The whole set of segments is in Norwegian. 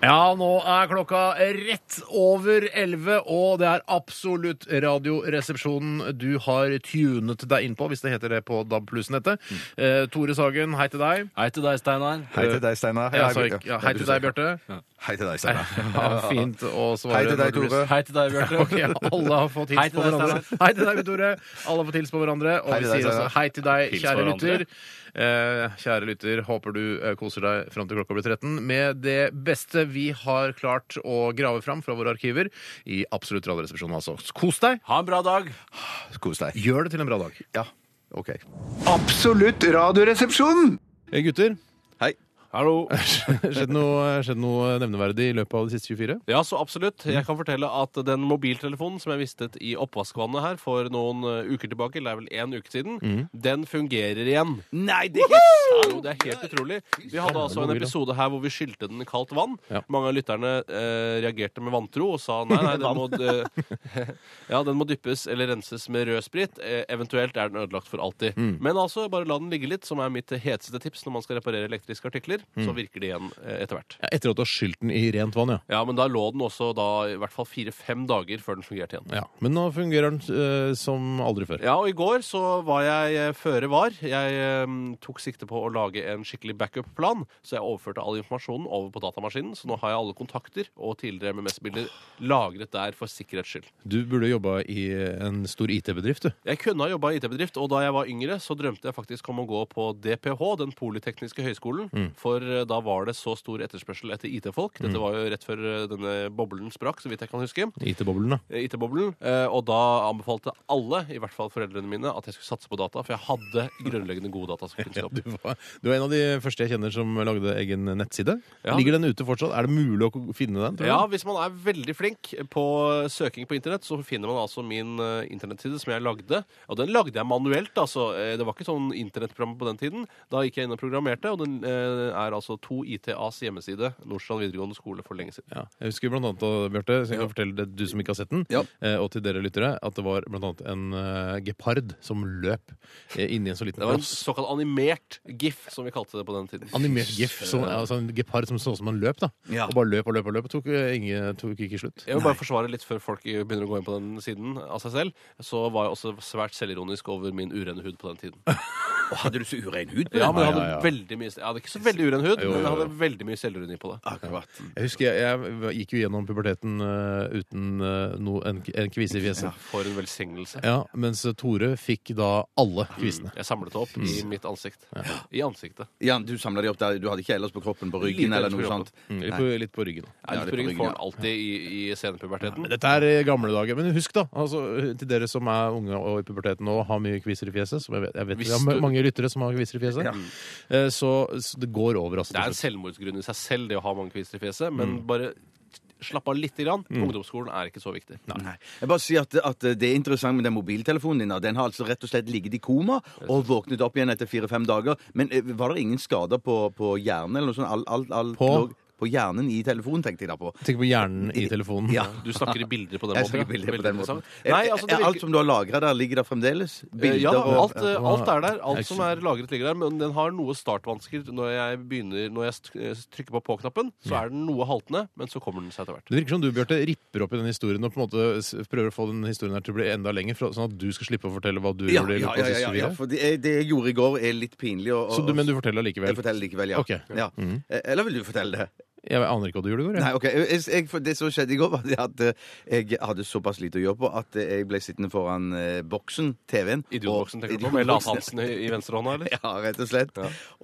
Ja, nå er klokka rett over 11, og det er absolutt Radioresepsjonen du har tunet deg inn på, hvis det heter det på DAB pluss-nettet. Eh, Tore Sagen, hei til deg. Hei til deg, Steinar. Mm. Hei til deg, Steinar. Ja, altså, ja, hei til deg, Bjarte. Hei til deg, Steinar. Ja, fint å svare. Hei til deg, når du blir- Tore. Hei til deg, Bjarte. Ok, alle har fått Hei hils på til deg, hverandre. Hei til deg, Tore. Alle har fått hils på hverandre. Og Hei vi til deg, sier også Steinar. hei til deg, Hils kjære hverandre. lytter. Eh, kjære lytter, håper du eh, koser deg fram til klokka blir 13 med det beste vi har klart å grave fram fra våre arkiver i Absolutt Radioresepsjonen, altså. Kos deg! Ha en bra dag. Kos deg. Gjør det til en bra dag. Ja, OK. Absolutt Radioresepsjon! Eh, gutter, Hei. Hallo. skjedd noe, skjedd noe nevneverdig i løpet av de siste 24? Ja, så absolutt. Mhm. Jeg kan fortelle at den mobiltelefonen som jeg mistet i oppvaskvannet her for noen eh, uker tilbake, eller det er vel én uke siden, den fungerer igjen. Mhm. Nei, det er ikke Jo, det er helt utrolig. Vi hadde altså en mobil, da. episode her hvor vi skylte den i kaldt vann. Ja. Mange av lytterne eh, reagerte med vantro og sa nei, nei, den må, d- ja, den må dyppes eller renses med rød sprit. Eh, eventuelt er den ødelagt for alltid. Mm. Men altså, bare la den ligge litt, som er mitt heteste tips når man skal reparere elektriske artikler. Mm. Så virker de igjen eh, etter hvert. Ja, etter at du har skylt den i rent vann, ja. Ja, men da lå den også da i hvert fall fire-fem dager før den fungerte igjen. ja. Men nå fungerer den eh, som aldri før. Ja, og i går så var jeg eh, føre var. Jeg eh, tok sikte på å lage en skikkelig backup-plan, så jeg overførte all informasjonen over på datamaskinen. Så nå har jeg alle kontakter og tidligere MMS-bilder lagret der for sikkerhets skyld. Du burde jobba i en stor IT-bedrift, du. Jeg kunne ha jobba i IT-bedrift, og da jeg var yngre, så drømte jeg faktisk om å gå på DPH, den polytekniske høgskolen, for eh, da var det så stor etterspørsel etter IT-folk. Dette var jo rett før eh, denne boblen sprakk, så vidt jeg kan huske. IT-boblen, da. IT-boblen, eh, og da anbefalte alle, i hvert fall foreldrene mine, at jeg skulle satse på data, for jeg hadde grunnleggende god datakunnskap. Du var, du var en av de første jeg kjenner som lagde egen nettside. Ja. Ligger den ute fortsatt? Er det mulig å k- finne den? tror du? Ja, hvis man er veldig flink på søking på internett, så finner man altså min eh, internettside som jeg lagde. Og den lagde jeg manuelt, altså. Eh, Det var ikke sånn internettprogram på den tiden. Da gikk jeg inn og programmerte, og den eh, er altså 2ITAs hjemmeside, Nordstrand videregående skole, for lenge siden. Ja. Jeg husker blant annet, og, Bjarte, så jeg kan fortelle det du som ikke har sett den, Ja. eh, og til dere lyttere, at det var blant annet en eh, gepard som løp eh, inni en så liten Det var en plass. såkalt animert gif, som vi kalte det på den tiden. Animert gif. Som, altså en gepard som så ut som han løp, da. Ja. Og bare løp og løp og løp. Og tok, eh, ingen, tok ikke slutt. Jeg vil bare forsvare litt før folk begynner å gå inn på den siden av seg selv. Så var jeg også svært selvironisk over min urene hud på den tiden. Hadde du så urein hud? Ja, men jeg hadde ja, ja. veldig mye Jeg hadde ikke så veldig uren hud, Jo, jo, men jeg jo. hadde veldig mye selvironi på det. Akkurat. Jeg husker jeg, jeg gikk jo gjennom puberteten eh, uten eh, no, en, en kvise i fjeset. For en velsignelse. Ja, mens eh, Tore fikk da alle kvisene. Jeg samlet det opp Mm. i mitt ansikt. I ansiktet. Ja, du samla de opp der. Du hadde ikke ellers på kroppen, Mm, på ryggen Lite eller ellers noe på sånt? Litt på, litt på ryggen. Nei, Ja, det er på Utføringen ryggen, får den alltid i, i senepuberteten. Dette er eh, gamle dager. Men husk, da, altså, til dere som er unge og i puberteten nå og har mye kviser i fjeset som Jeg vet, jeg vet vi har ma- du- mange lyttere som har kviser i fjeset. eh, Så, så det går over, altså. Det er til en slutt. selvmordsgrunn i seg selv, det å ha mange kvister i fjeset, men Mm. bare slapp av lite grann. Ungdomsskolen er ikke så viktig. Nei. Jeg bare sier at, at Det er interessant med den mobiltelefonen din. da. Den har altså rett og slett ligget i koma og våknet opp igjen etter fire-fem dager. Men eh, var det ingen skader på, på hjernen? eller noe sånt? All, all, all, På? lå- på hjernen i telefonen, tenkte jeg da på. Tenk på hjernen i telefonen. Mm. Ja. Du snakker i bilder på den Jeg måten. snakker ja. bilder på Veldig den måten. interessant. Er, Nei, altså, det er virker... alt som du har lagra der, ligger der fremdeles? Bilder ja, da, og alt, eh, alt er der. Jeg Alt som skjønner. er lagret, ligger der. Men den har noe startvansker når jeg begynner Når jeg st- eh, trykker på på-knappen. Så er den noe haltende, men så kommer den seg etter hvert. Det virker som du Bjørte, ripper opp i den historien og på en måte s- prøver å få den historien her til å bli enda lenger, for- sånn at du skal slippe å fortelle hva du Ja, gjorde. i ja, løpet av de ja, ja, siste ja, fire. for det, jeg- det jeg gjorde i går, er litt pinlig. Og, og, Så du, men du forteller likevel? Jeg forteller likevel, ja. Ok. Mhm. ja. Eh, Eller vil du fortelle det? Jeg aner ikke hva du gjorde i går. jeg. Nei, ok. Jeg, jeg, for det som skjedde i går, var det at eh, jeg hadde såpass lite å gjøre på at eh, jeg ble sittende foran eh, boksen, TV-en. og- Idiotboksen, tenker du på? Med Lars Hansen i, i venstrehånda, eller? Ja, rett og slett.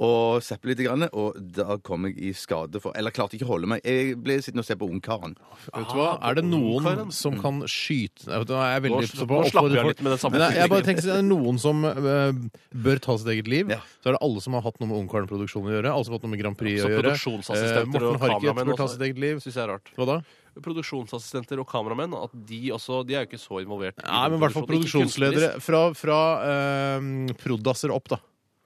Og zappe litt, grann, og da kom jeg i skade for Eller klarte ikke å holde meg. Jeg ble sittende og se på Ungkaren. Vet du hva? Ah, Er det noen som kan skyte Nei, vet du hva, jeg er veldig Mm. Nå sl- nå å slapper oppfordre jeg folk. litt med den samme Men jeg, jeg bare utviklingen. tenker, så er det noen som eh, bør ta sitt eget liv, Ja. så er det alle som har hatt noe med Ungkaren-produksjon å gjøre. Alle som har hatt noe med Grand Prix Så å gjøre. altså produksjonsassistenter Eh, Morten og Harket kameramenn bør ta også. sitt eget liv. Syns jeg er rart. Hva da? Produksjonsassistenter og kameramenn, at de også De er jo ikke så involvert. Nei, men i hvert fall produksjon. Ikke kunstnerisk. produksjonsledere. Fra, fra eh, proddasser opp, da.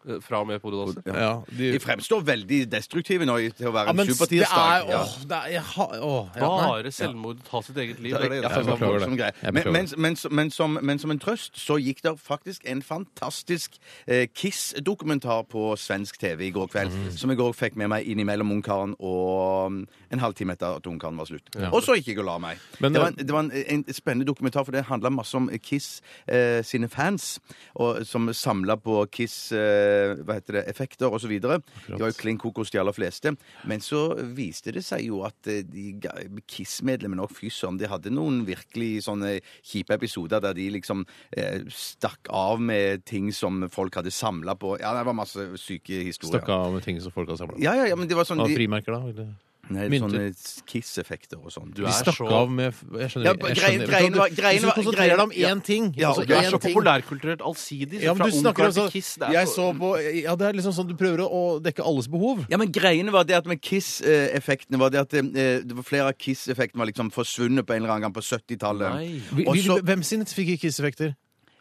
Eh, Fra og med Porodalsen. Ja, de, De fremstår veldig destruktive nå i- til å være ja, en men det er, supertirsdag. Ja. åh, det er jeg har- åh, ja, nei. Bare selvmord, ta sitt eget liv. Det er det Ja, eneste det var som- beklager det. voldsom greie. Jeg Men, beklager men, men, men, som, men som en trøst så gikk det faktisk en fantastisk eh, Kiss-dokumentar på svensk TV i går kveld, Mhm. som jeg òg fikk med meg innimellom Ungkaren og mm, en halvtime etter at Ungkaren var slutt. Og så gikk jeg og la meg. Men, det var, en, det var en, en spennende dokumentar, for det handla masse om Kiss eh, sine fans, og, som samla på Kiss eh, hva heter det, effekter osv. De var jo klin kokos, de aller fleste. Men så viste det seg jo at eh, de ga- Kiss-medlemmene òg, fy søren, de hadde noen virkelig sånne kjipe episoder der de liksom eh, stakk av med ting som folk hadde samla på. Ja, det var masse syke historier. Stakk av med ting som folk har samla. Ja, ja, ja, men det var sånn Av de, frimerker, da? Eller? nei, mynter. sånne Kiss-effekter og sånn. Du De er stakk så- av med Jeg skjønner. Ja, jeg skjønner. greien- greien var- Hvis du- greien Hvis du var- konsentrerer greien- deg om én ting Ja, altså Du er én så ting. populærkulturelt allsidig. Ja, fra men du snakker Ungkaren altså til Kiss. Det er Jeg så- så på Ja, det er liksom sånn du prøver å, å dekke alles behov. Ja, men greiene var det at med Kiss-effektene var det at eh, det var flere av Kiss-effektene var liksom forsvunnet på en eller annen gang på 70-tallet. Nei. Vi, Og vi, så- hvem sin fikk Kiss-effekter?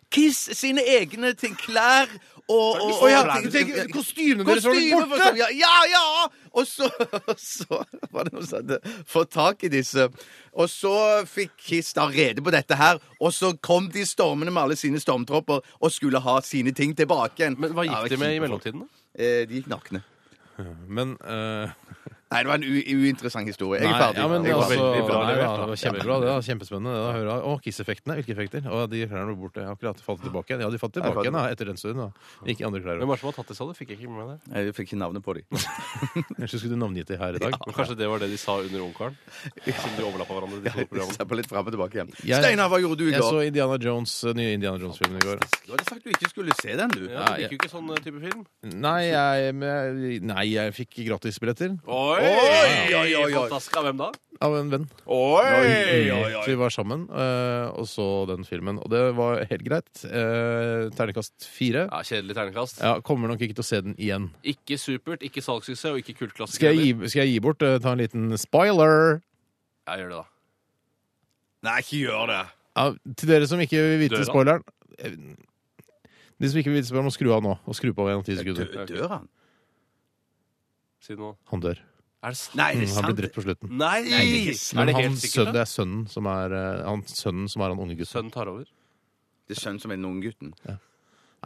Kiss sine egne ting, klær og, og, og ja, tenk- tenk, kostymene deres var Kostymer borte! for sånn, Ja, ja! ja! Og så, så var det noen som hadde fått tak i disse. Og så fikk Kiss da rede på dette her, og så kom de stormende med alle sine stormtropper og skulle ha sine ting tilbake igjen. Men hva Ja, gikk det de var med i kjipe folk. mellomtiden? da? Eh, de gikk nakne. Men eh, Nei, det var en u uinteressant historie. Jeg Nei, er ferdig. ja, men Jeg var altså, veldig bra nei, levert, ja, da. det var kjempebra. Det var kjempespennende. Det, da, å høre. Og Kiss-effektene. Hvilke effekter? Å, de klærne ble borte. Ja, Akkurat. Falt tilbake igjen. Ja, de falt tilbake falt- igjen da, etter den stunden. da. Ikke i andre klær. Hvem var det som hadde tatt det, sa du? Fikk jeg ikke med meg det. Jeg fikk ikke navnet på dem. Ellers skulle du navngitt det her i dag. Men kanskje det var det de sa under Ungkaren? Siden de overlappa hverandre, de to programmene. Steppa litt fram og tilbake igjen. Jeg- Steinar, hva gjorde du i Jeg så går? Indiana Jones, eh, nye Indiana Jones-filmen i går. Du hadde sagt du ikke skulle se den, du. Ja, du liker jo ikke sånn eh, type film. Nei, jeg, men jeg- nei, jeg fikk gratisbilletter Oi! Oi, oi, oi, oi. Fantastisk. Av hvem da? av en venn. Oi! Så vi var sammen eh, og så den filmen. Og det var helt greit. Eh, ternekast fire. Ja, Kjedelig terningkast. Ja, kommer nok ikke til å se den igjen. Ikke supert, ikke salgssuksess og ikke kultklassiker. Skal jeg gi, skal jeg gi bort? eh, ta en liten spoiler? heller. Ja, gjør det, da. Nei, ikke gjør det. Ja, til dere som ikke vil vite Døra. spoileren eh, De som ikke vil vite spoileren, må skru av nå. Og skru på igjen om ti sekunder. Dø- Dør han? Si det nå. Han dør. Mm, Er det sant? Nei, det er Han blir sant. drept på slutten. Nei! Men er det han, helt sikkert? sønnen, da? det er sønnen som er eh, han, sønnen som er han unge gutten. Sønnen tar over. Det er sønnen som er den unge gutten. Nei,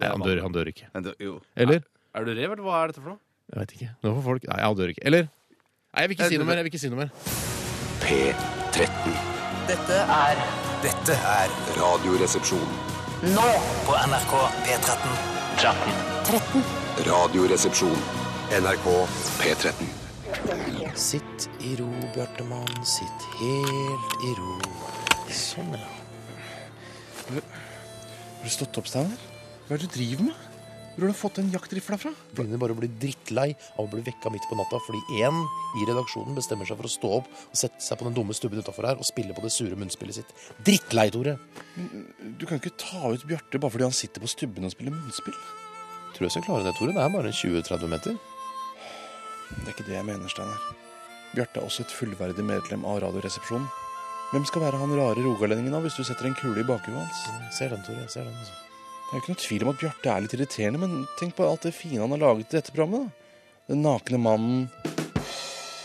han dør, han dør ikke. Han dør- jo. Eller? Er du rev, eller hva er dette for noe? Jeg vet ikke. Nå får folk Nei, han dør ikke. Eller? Nei, jeg vil ikke si noe mer. Jeg vil ikke si noe mer. P13. Dette er Dette er Radioresepsjon. nå på NRK P13. Radioresepsjon. NRK P13. Sitt i ro, Bjartemann. Sitt helt i ro. Sånn, ja. Har du stått opp, Steinar? Hva er det du driver med? Hvor har du fått den jaktrifla fra? Jeg begynner bare å bli drittlei av å bli vekka midt på natta fordi én i redaksjonen bestemmer seg for å stå opp og sette seg på den dumme stubben utafor her og spille på det sure munnspillet sitt. Drittlei, Tore! Du kan ikke ta ut Bjarte bare fordi han sitter på stubben og spiller munnspill. Tror jeg skal klare det, Tore. Det er bare 20-30 meter. Det er ikke det jeg mener, Steinar. Bjarte er også et fullverdig medlem av Radioresepsjonen. Hvem skal være han rare rogalendingen av hvis du setter en kule i bakhuet hans? Mm, Jeg Ser den, Tore. Jeg Ser den. Altså. Det er jo ikke noe tvil om at Bjarte er litt irriterende, men tenk på alt det fine han har laget i dette programmet. da. Den nakne mannen,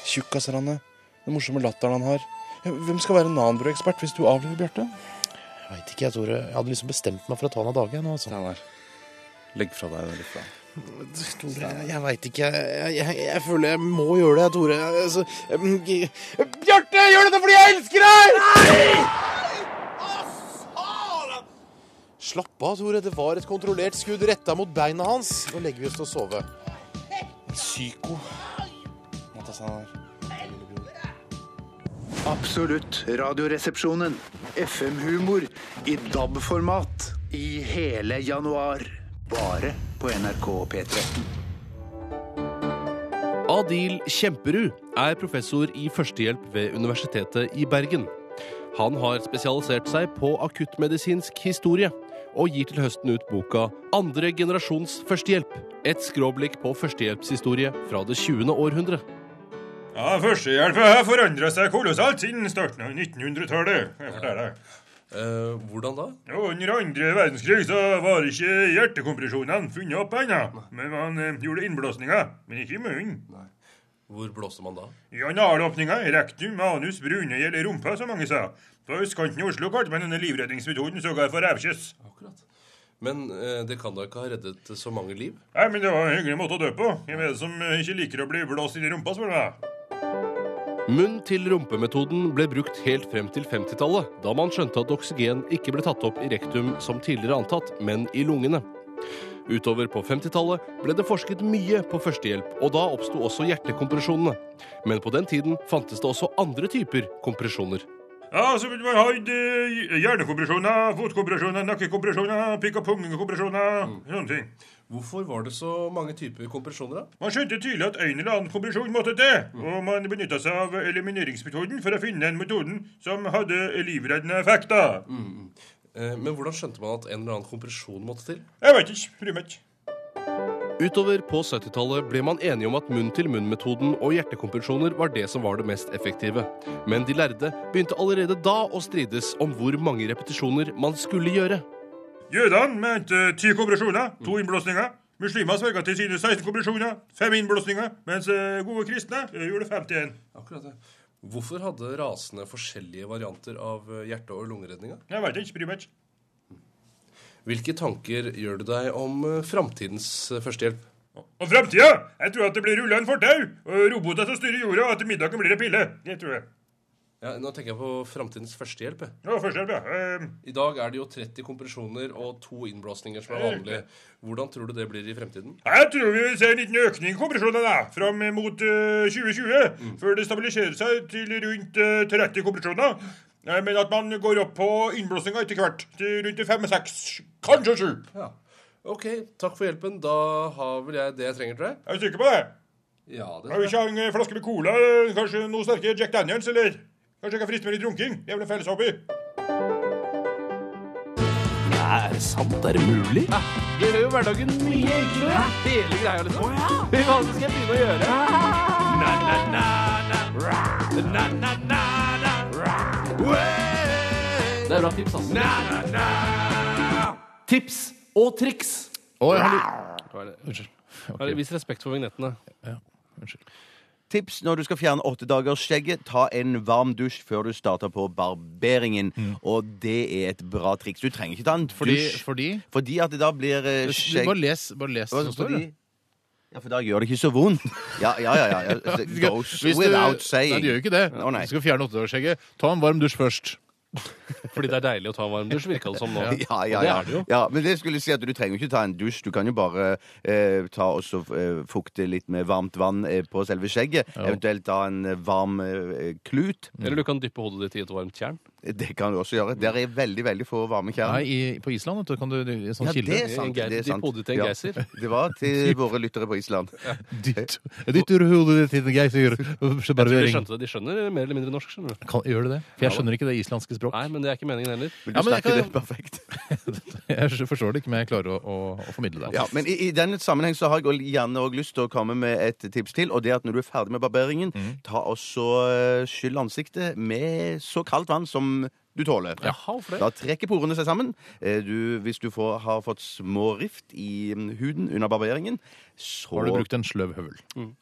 tjukkaserne, den morsomme latteren han har. Ja, Hvem skal være nanbroekspert hvis du avlever Bjarte? Jeg vet ikke, jeg, Tore. Jeg hadde liksom bestemt meg for å ta den av dage nå, altså. Steinar, legg fra deg den rifla. Tore, jeg, jeg veit ikke. Jeg, jeg, jeg føler jeg må gjøre det, jeg, Tore. Altså, mm, g- Bjarte, gjør dette fordi jeg elsker deg! Slapp av, Tore. Det var et kontrollert skudd retta mot beina hans. Nå legger vi oss til å sove. Psyko. Natta, Steinar. Absolutt Radioresepsjonen. FM-humor i DAB-format i hele januar. Bare på NRK P13. Adil Kjemperud er professor i førstehjelp ved Universitetet i Bergen. Han har spesialisert seg på akuttmedisinsk historie og gir til høsten ut boka 'Andre generasjons førstehjelp'. Et skråblikk på førstehjelpshistorie fra det 20. århundre. Ja, Førstehjelp har forandra seg kolossalt siden starten av 1900-tallet. jeg forteller deg. hvordan da? Under andre verdenskrig så var ikke hjertekompresjonene funnet opp ennå. Men man eh, gjorde innblåsninger. Men ikke i munnen. Hvor blåste man da? I analåpninga, rektum, anus, brune eller rumpa, som mange sa. På østkanten i Oslo kalte man denne livredningsmetoden sågar for rævkjøss. Men eh, det kan da ikke ha reddet så mange liv? Nei, men det var en hyggelig måte å dø på. Hvem er det som eh, ikke liker å bli blåst i rumpa, spør du meg? Munn-til-rumpe-metoden ble brukt helt frem til 50-tallet, da man skjønte at oksygen ikke ble tatt opp i rektum som tidligere antatt, men i lungene. Utover på 50-tallet ble det forsket mye på førstehjelp, og da oppsto også hjertekompresjonene. Men på den tiden fantes det også andre typer kompresjoner. Ja, så vil man ha eh, hjernekompresjoner, fotkompresjoner, nakkekompresjoner, pikk- og pungkompresjoner, Mm. sånne ting. Hvorfor var det så mange typer kompresjoner, da? Man skjønte tydelig at en eller annen kompresjon måtte til, Mm. og man benytta seg av elimineringsmetoden for å finne en metoden som hadde livreddende effekt. da. Mm, Eh, men hvordan skjønte man at en eller annen kompresjon måtte til? Jeg vet ikke, bryr meg ikke. Utover på 70-tallet ble man enige om at munn-til-munn-metoden og hjertekompresjoner var det som var det mest effektive. Men de lærde begynte allerede da å strides om hvor mange repetisjoner man skulle gjøre. Jødene mente ti kompresjoner, to innblåsninger. Muslimer sverga til sine 16 kompresjoner, fem innblåsninger, mens eh, gode kristne eh, gjorde 51. Akkurat det. Hvorfor hadde rasene forskjellige varianter av eh, hjerte- og lungeredninga? Jeg vet ikke, bryr meg ikke. Hvilke tanker gjør du deg om eh, framtidens eh, førstehjelp? Og framtida! Jeg tror at det blir rulla en fortau, og roboter som styrer jorda, og etter middagen blir det pille. Det tror jeg. Ja, nå tenker jeg på framtidens førstehjelp. jeg. Ja, førstehjelp, ja. Ehm, I dag er det jo 30 kompresjoner og to innblåsninger som er vanlig. Hvordan tror du det blir i fremtiden? Ehm. Jeg tror vi vil se en liten økning i kompresjonene da, fram mot eh, 2020, Mm. før det stabiliserer seg til rundt eh, 30 kompresjoner. Eh, Men at man går opp på innblåsninga etter hvert, til rundt 5-6, kanskje 7. Ja. OK, takk for hjelpen. Da har vel jeg det jeg trenger, tror jeg. Er du sikker på det? Ja, det Har tror vi jeg. ikke en eh, flaske med cola, eh, kanskje noe sterkere Jack Daniels, eller? Kanskje jeg kan friste med litt runking? Jævla felles hobby. Nei, er det sant? Er det mulig? Det gjør jo hverdagen mye enklere. Hele greia, liksom. Hva skal jeg begynne å gjøre? Det er bra tips, altså. Tips og triks. Å, jeg Unnskyld. Vis respekt for vignettene. Tips når du skal fjerne åttedagersskjegget. Ta en varm dusj før du starter på barberingen. Og det er et bra triks. Du trenger ikke ta en Fordi, Mm. dusj. fordi Fordi at det da blir eh, skjegg Bare les, bare les det som står. Fordi- du. Ja, for da gjør det ikke så vondt. Ja, ja, ja. ja. It Hvis goes du- without Nei, saying. det gjør jo ikke det. Å, nei. Du skal fjerne åttedagersskjegget. Ta en varm dusj først. Fordi det er deilig å ta varm dusj, virka det som nå. Ja, ja, Og det ja. er det jo. ja. Men det skulle jeg si at du trenger jo ikke ta en dusj. Du kan jo bare eh, ta og så eh, fukte litt med varmt vann eh, på selve skjegget. Ja. Eventuelt ta en eh, varm eh, klut. Eller du kan dyppe hodet ditt i et varmt tjern. Det kan du også gjøre. Der er veldig, veldig få varme Nei, kjerner. i, på Island vet du, kan du i en sånn Ja, kilde. det er sant. Det er sant. Ja. Det var til våre lyttere på Island. Dytt, dytt ur hodet ditt inn i geysir. Jeg tror de Barbering. skjønte det. De skjønner mer eller mindre norsk, skjønner du. Kan, gjør du det? For jeg Ja, da. skjønner ikke det islandske språk. Nei, men det er ikke meningen heller. Vil Ja, du men jeg snakke kan- det perfekt? Jeg forstår det ikke, men jeg klarer å, å, å formidle det. Ja, men i, i den sammenheng så har jeg også gjerne også lyst til å komme med et tips til. Og det er at når du er ferdig med barberingen, Mm. ta også eh, skyll ansiktet med så kaldt vann som du tåler. Jaha, hvorfor det? Da trekker porene seg sammen. Eh, Du, hvis du får, har fått små rift i mm, huden under barberingen, så Mm. Har du brukt en sløv høvel?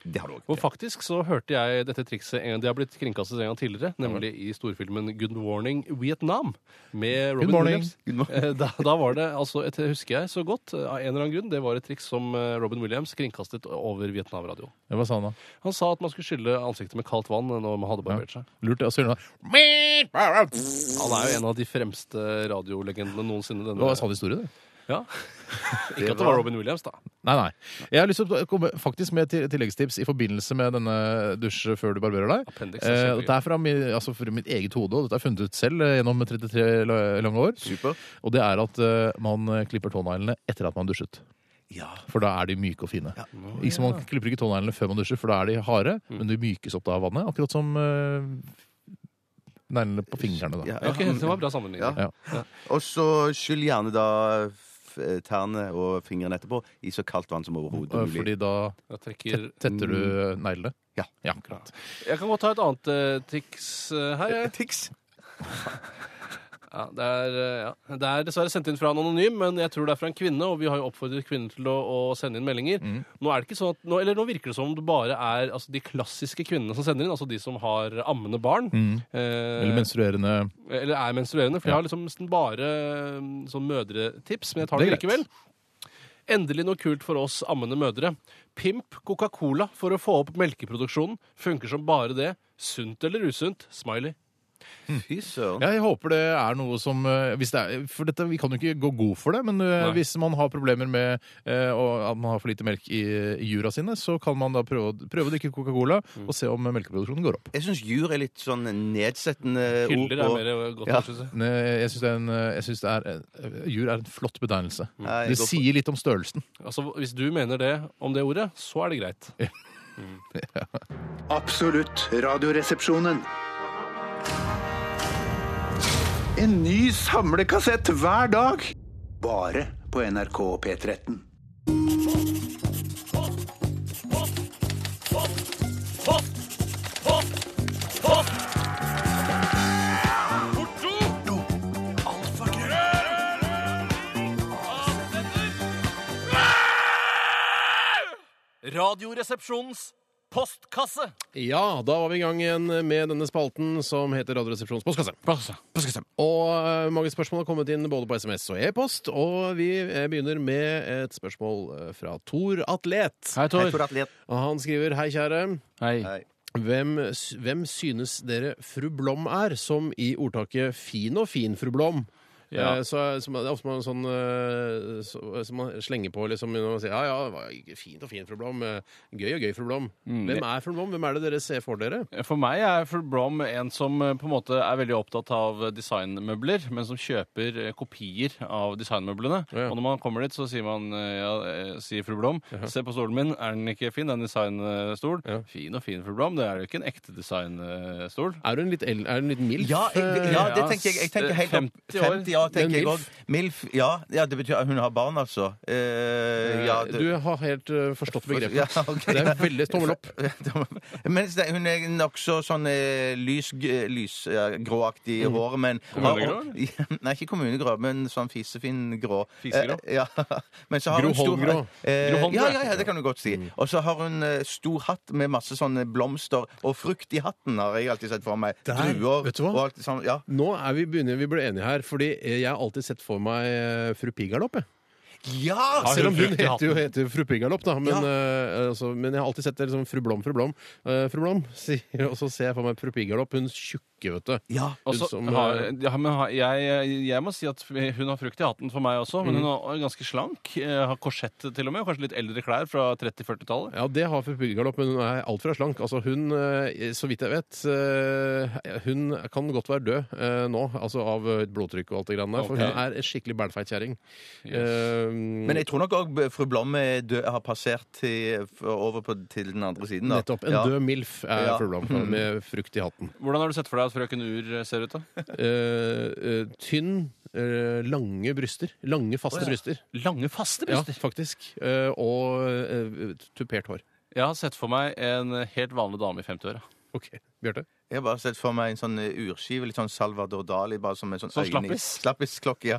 Det har du òg. Og faktisk så hørte jeg dette trikset en gang, Det har blitt kringkastet en gang tidligere, nemlig i storfilmen Good Warning Vietnam med Robin morning. Williams. Eh, Da, da var det altså et husker jeg så godt, eh, av en eller annen grunn, det var et triks som eh, Robin Williams kringkastet over Vietnam-radioen. Hva sa han da? Han sa at man skulle skylle ansiktet med kaldt vann når man hadde barbert seg. Lurt, ja. Så gjør han Han er jo en av de fremste radiolegendene noensinne. det. sånn Denne. Hva sa de store, det? Ja. Ikke at det var Robin Williams, da. Nei, nei. Jeg har lyst til å komme faktisk med et tilleggstips i forbindelse med denne dusj før du barberer deg. Appendix er Eh, kjempegøy. dette er fra, min, altså fra mitt eget hode, og dette er funnet ut selv eh, gjennom 33 la- lange år. Super. Og det er at eh, man klipper tåneglene etter at man dusjet. Ja. For da er de myke og fine. Ikke som Man klipper ikke tåneglene før man dusjer, for da er de harde, Mm. men de mykes opp da av vannet. Akkurat som eh, neglene på fingrene. da. Ja, Ok, Det var bra sammenligning. Ja. Og så skyll gjerne da f- eh, tærne og fingrene etterpå i så kaldt vann som overhodet Eh, mulig. Mm. Fordi da Da trekker... tetter du neglene. Ja. akkurat. Jeg kan godt ta et annet eh, triks eh, her. jeg. Tics. Ja, det, er, eh, ja. det er dessverre sendt inn fra en anonym, men jeg tror det er fra en kvinne. Og vi har jo oppfordret kvinner til å, å sende inn meldinger. Nå, er det ikke sånn at, nå, eller nå virker det som om det bare er altså, de klassiske kvinnene som sender inn. Altså de som har ammende barn. Mm. Eh, Eller menstruerende eller er menstruerende. For Ja. jeg har liksom nesten bare eh, sånn mødretips, men jeg tar Det det, er likevel. Endelig noe kult for oss ammende mødre. Pimp Coca-Cola for å få opp melkeproduksjonen. Funker som bare det. Sunt eller usunt? Smiley. Fy søren. Ja, jeg håper det er noe som eh, hvis det er, For dette, vi kan jo ikke gå god for det, men eh, Nei. hvis man har problemer med eh, og at man har for lite melk i, i jura sine, så kan man da prøve, å- prøve å drikke Coca-Cola Mm. og se om eh, melkeproduksjonen går opp. Jeg syns jur er litt sånn nedsettende ord. Hyller er på- mer godt, ja. synes jeg. Nei, eh, jeg syns det er en jeg synes det er, eh, Jur er en flott betegnelse. Mm. Nei, jeg det går for- sier litt om størrelsen. Altså, Hvis du mener det om det ordet, så er det greit. Absolutt radioresepsjonen. En ny samlekassett hver dag. Bare på NRK P13. Radioresepsjonens postkasse. Ja, da var vi i gang igjen med denne spalten som heter Radioresepsjonens postkasse. Postkasse. Og eh, mange spørsmål har kommet inn både på SMS og e-post, og vi eh, begynner med et spørsmål eh, fra Tor Atlet. Hei, Tor. Hei, Tor Atlet. Og han skriver Hei, kjære. Hei. Hvem, s- hvem synes dere fru Blom er, som i ordtaket 'fin og fin fru Blom'? Ja. Eh, Så, som, det er ofte man, sånn, eh, så, som man slenger på liksom, når man sier ja, ja, det var fint og fint, fru Blom. eh, Gøy og gøy, fru Blom. Mm. Hvem er fru Blom? Hvem er det dere ser for dere? For meg er Fred Blom en som eh, på en måte er veldig opptatt av eh, designmøbler, men som kjøper eh, kopier av designmøblene. Og når man kommer dit, så sier man eh, ja, eh, sier fru Blom, se på stolen min, er den ikke fin? Det er en designstol. Fin og fin, fru Blom. Det er jo ikke en ekte designstol. Er hun litt, el- er hun litt Eh, mild? Ja, jeg, ja, det tenker jeg. jeg tenker helt opp- 50 år. 50 år tenker Men jeg milf? også. Milf, ja. ja. Det betyr at hun har barn, altså. Eh, ja, det- Du har helt eh, forstått begrepet. Ja, ok. Det er veldig tommel opp. Mens det, hun er nokså sånn eh, lys, lysgråaktig i Mhm. håret, men Kommunegrå, Nei, ikke kommunegrå, men sånn fisefin grå. Fisegrå? Eh, ja. Men så har Gro hun stor- Holmgrå. Eh, Gro Holmgrå, ja, ja, ja, det kan du godt Mm. si. Og så har hun eh, stor hatt med masse sånne blomster og frukt i hatten, har jeg alltid sett for meg. Druer og alt sånt. Ja. Nå er vi begynner, vi ble enige her, fordi eh, jeg har alltid sett for meg eh, fru Pigalopp. jeg. Ja! Selv om hun heter jo heter jo fru Pigalopp, da. Men, eh, altså, men jeg har alltid sett det liksom fru Blom, fru Blom. Eh, fru Blom, sier, og så ser jeg for meg fru Pigalopp. Hun tjukke, vet du. Hun Og så som, eh, har, ja, Ah, altså, men har, jeg, jeg må si at hun har frukt i hatten for meg også, men Mhm. hun er ganske slank. eh, Har korsett til og med, og kanskje litt eldre klær fra 30-40-tallet. Ja, det har fru Pigalopp, men hun er alt fra slank. Altså, hun, eh, så vidt jeg vet, eh, hun kan godt være død eh, nå, altså av høyt blodtrykk og alt det grann der, for Ok. hun er en skikkelig bælfeit kjerring. Eh, Men jeg tror nok òg fru Blom er død, har passert til, over på, til den andre siden. Da. Nettopp. En Ja. død MILF er Ja. fru Blom, Mm. med frukt i hatten. Hvordan har du sett for deg at frøken Ur ser ut, da? Eh, eh, tynn, eh, lange bryster. Lange, faste Å, ja. bryster. Lange, faste bryster? Ja, faktisk. Eh, og eh, tupert hår. Jeg har sett for meg en helt vanlig dame i 50-åra. Ok, Bjarte? Jeg har bare sett for meg en sånn eh, urskive, litt sånn Salvador Dali, bare som en sånn Sånn øyne- slappis? Slappisklokke, ja.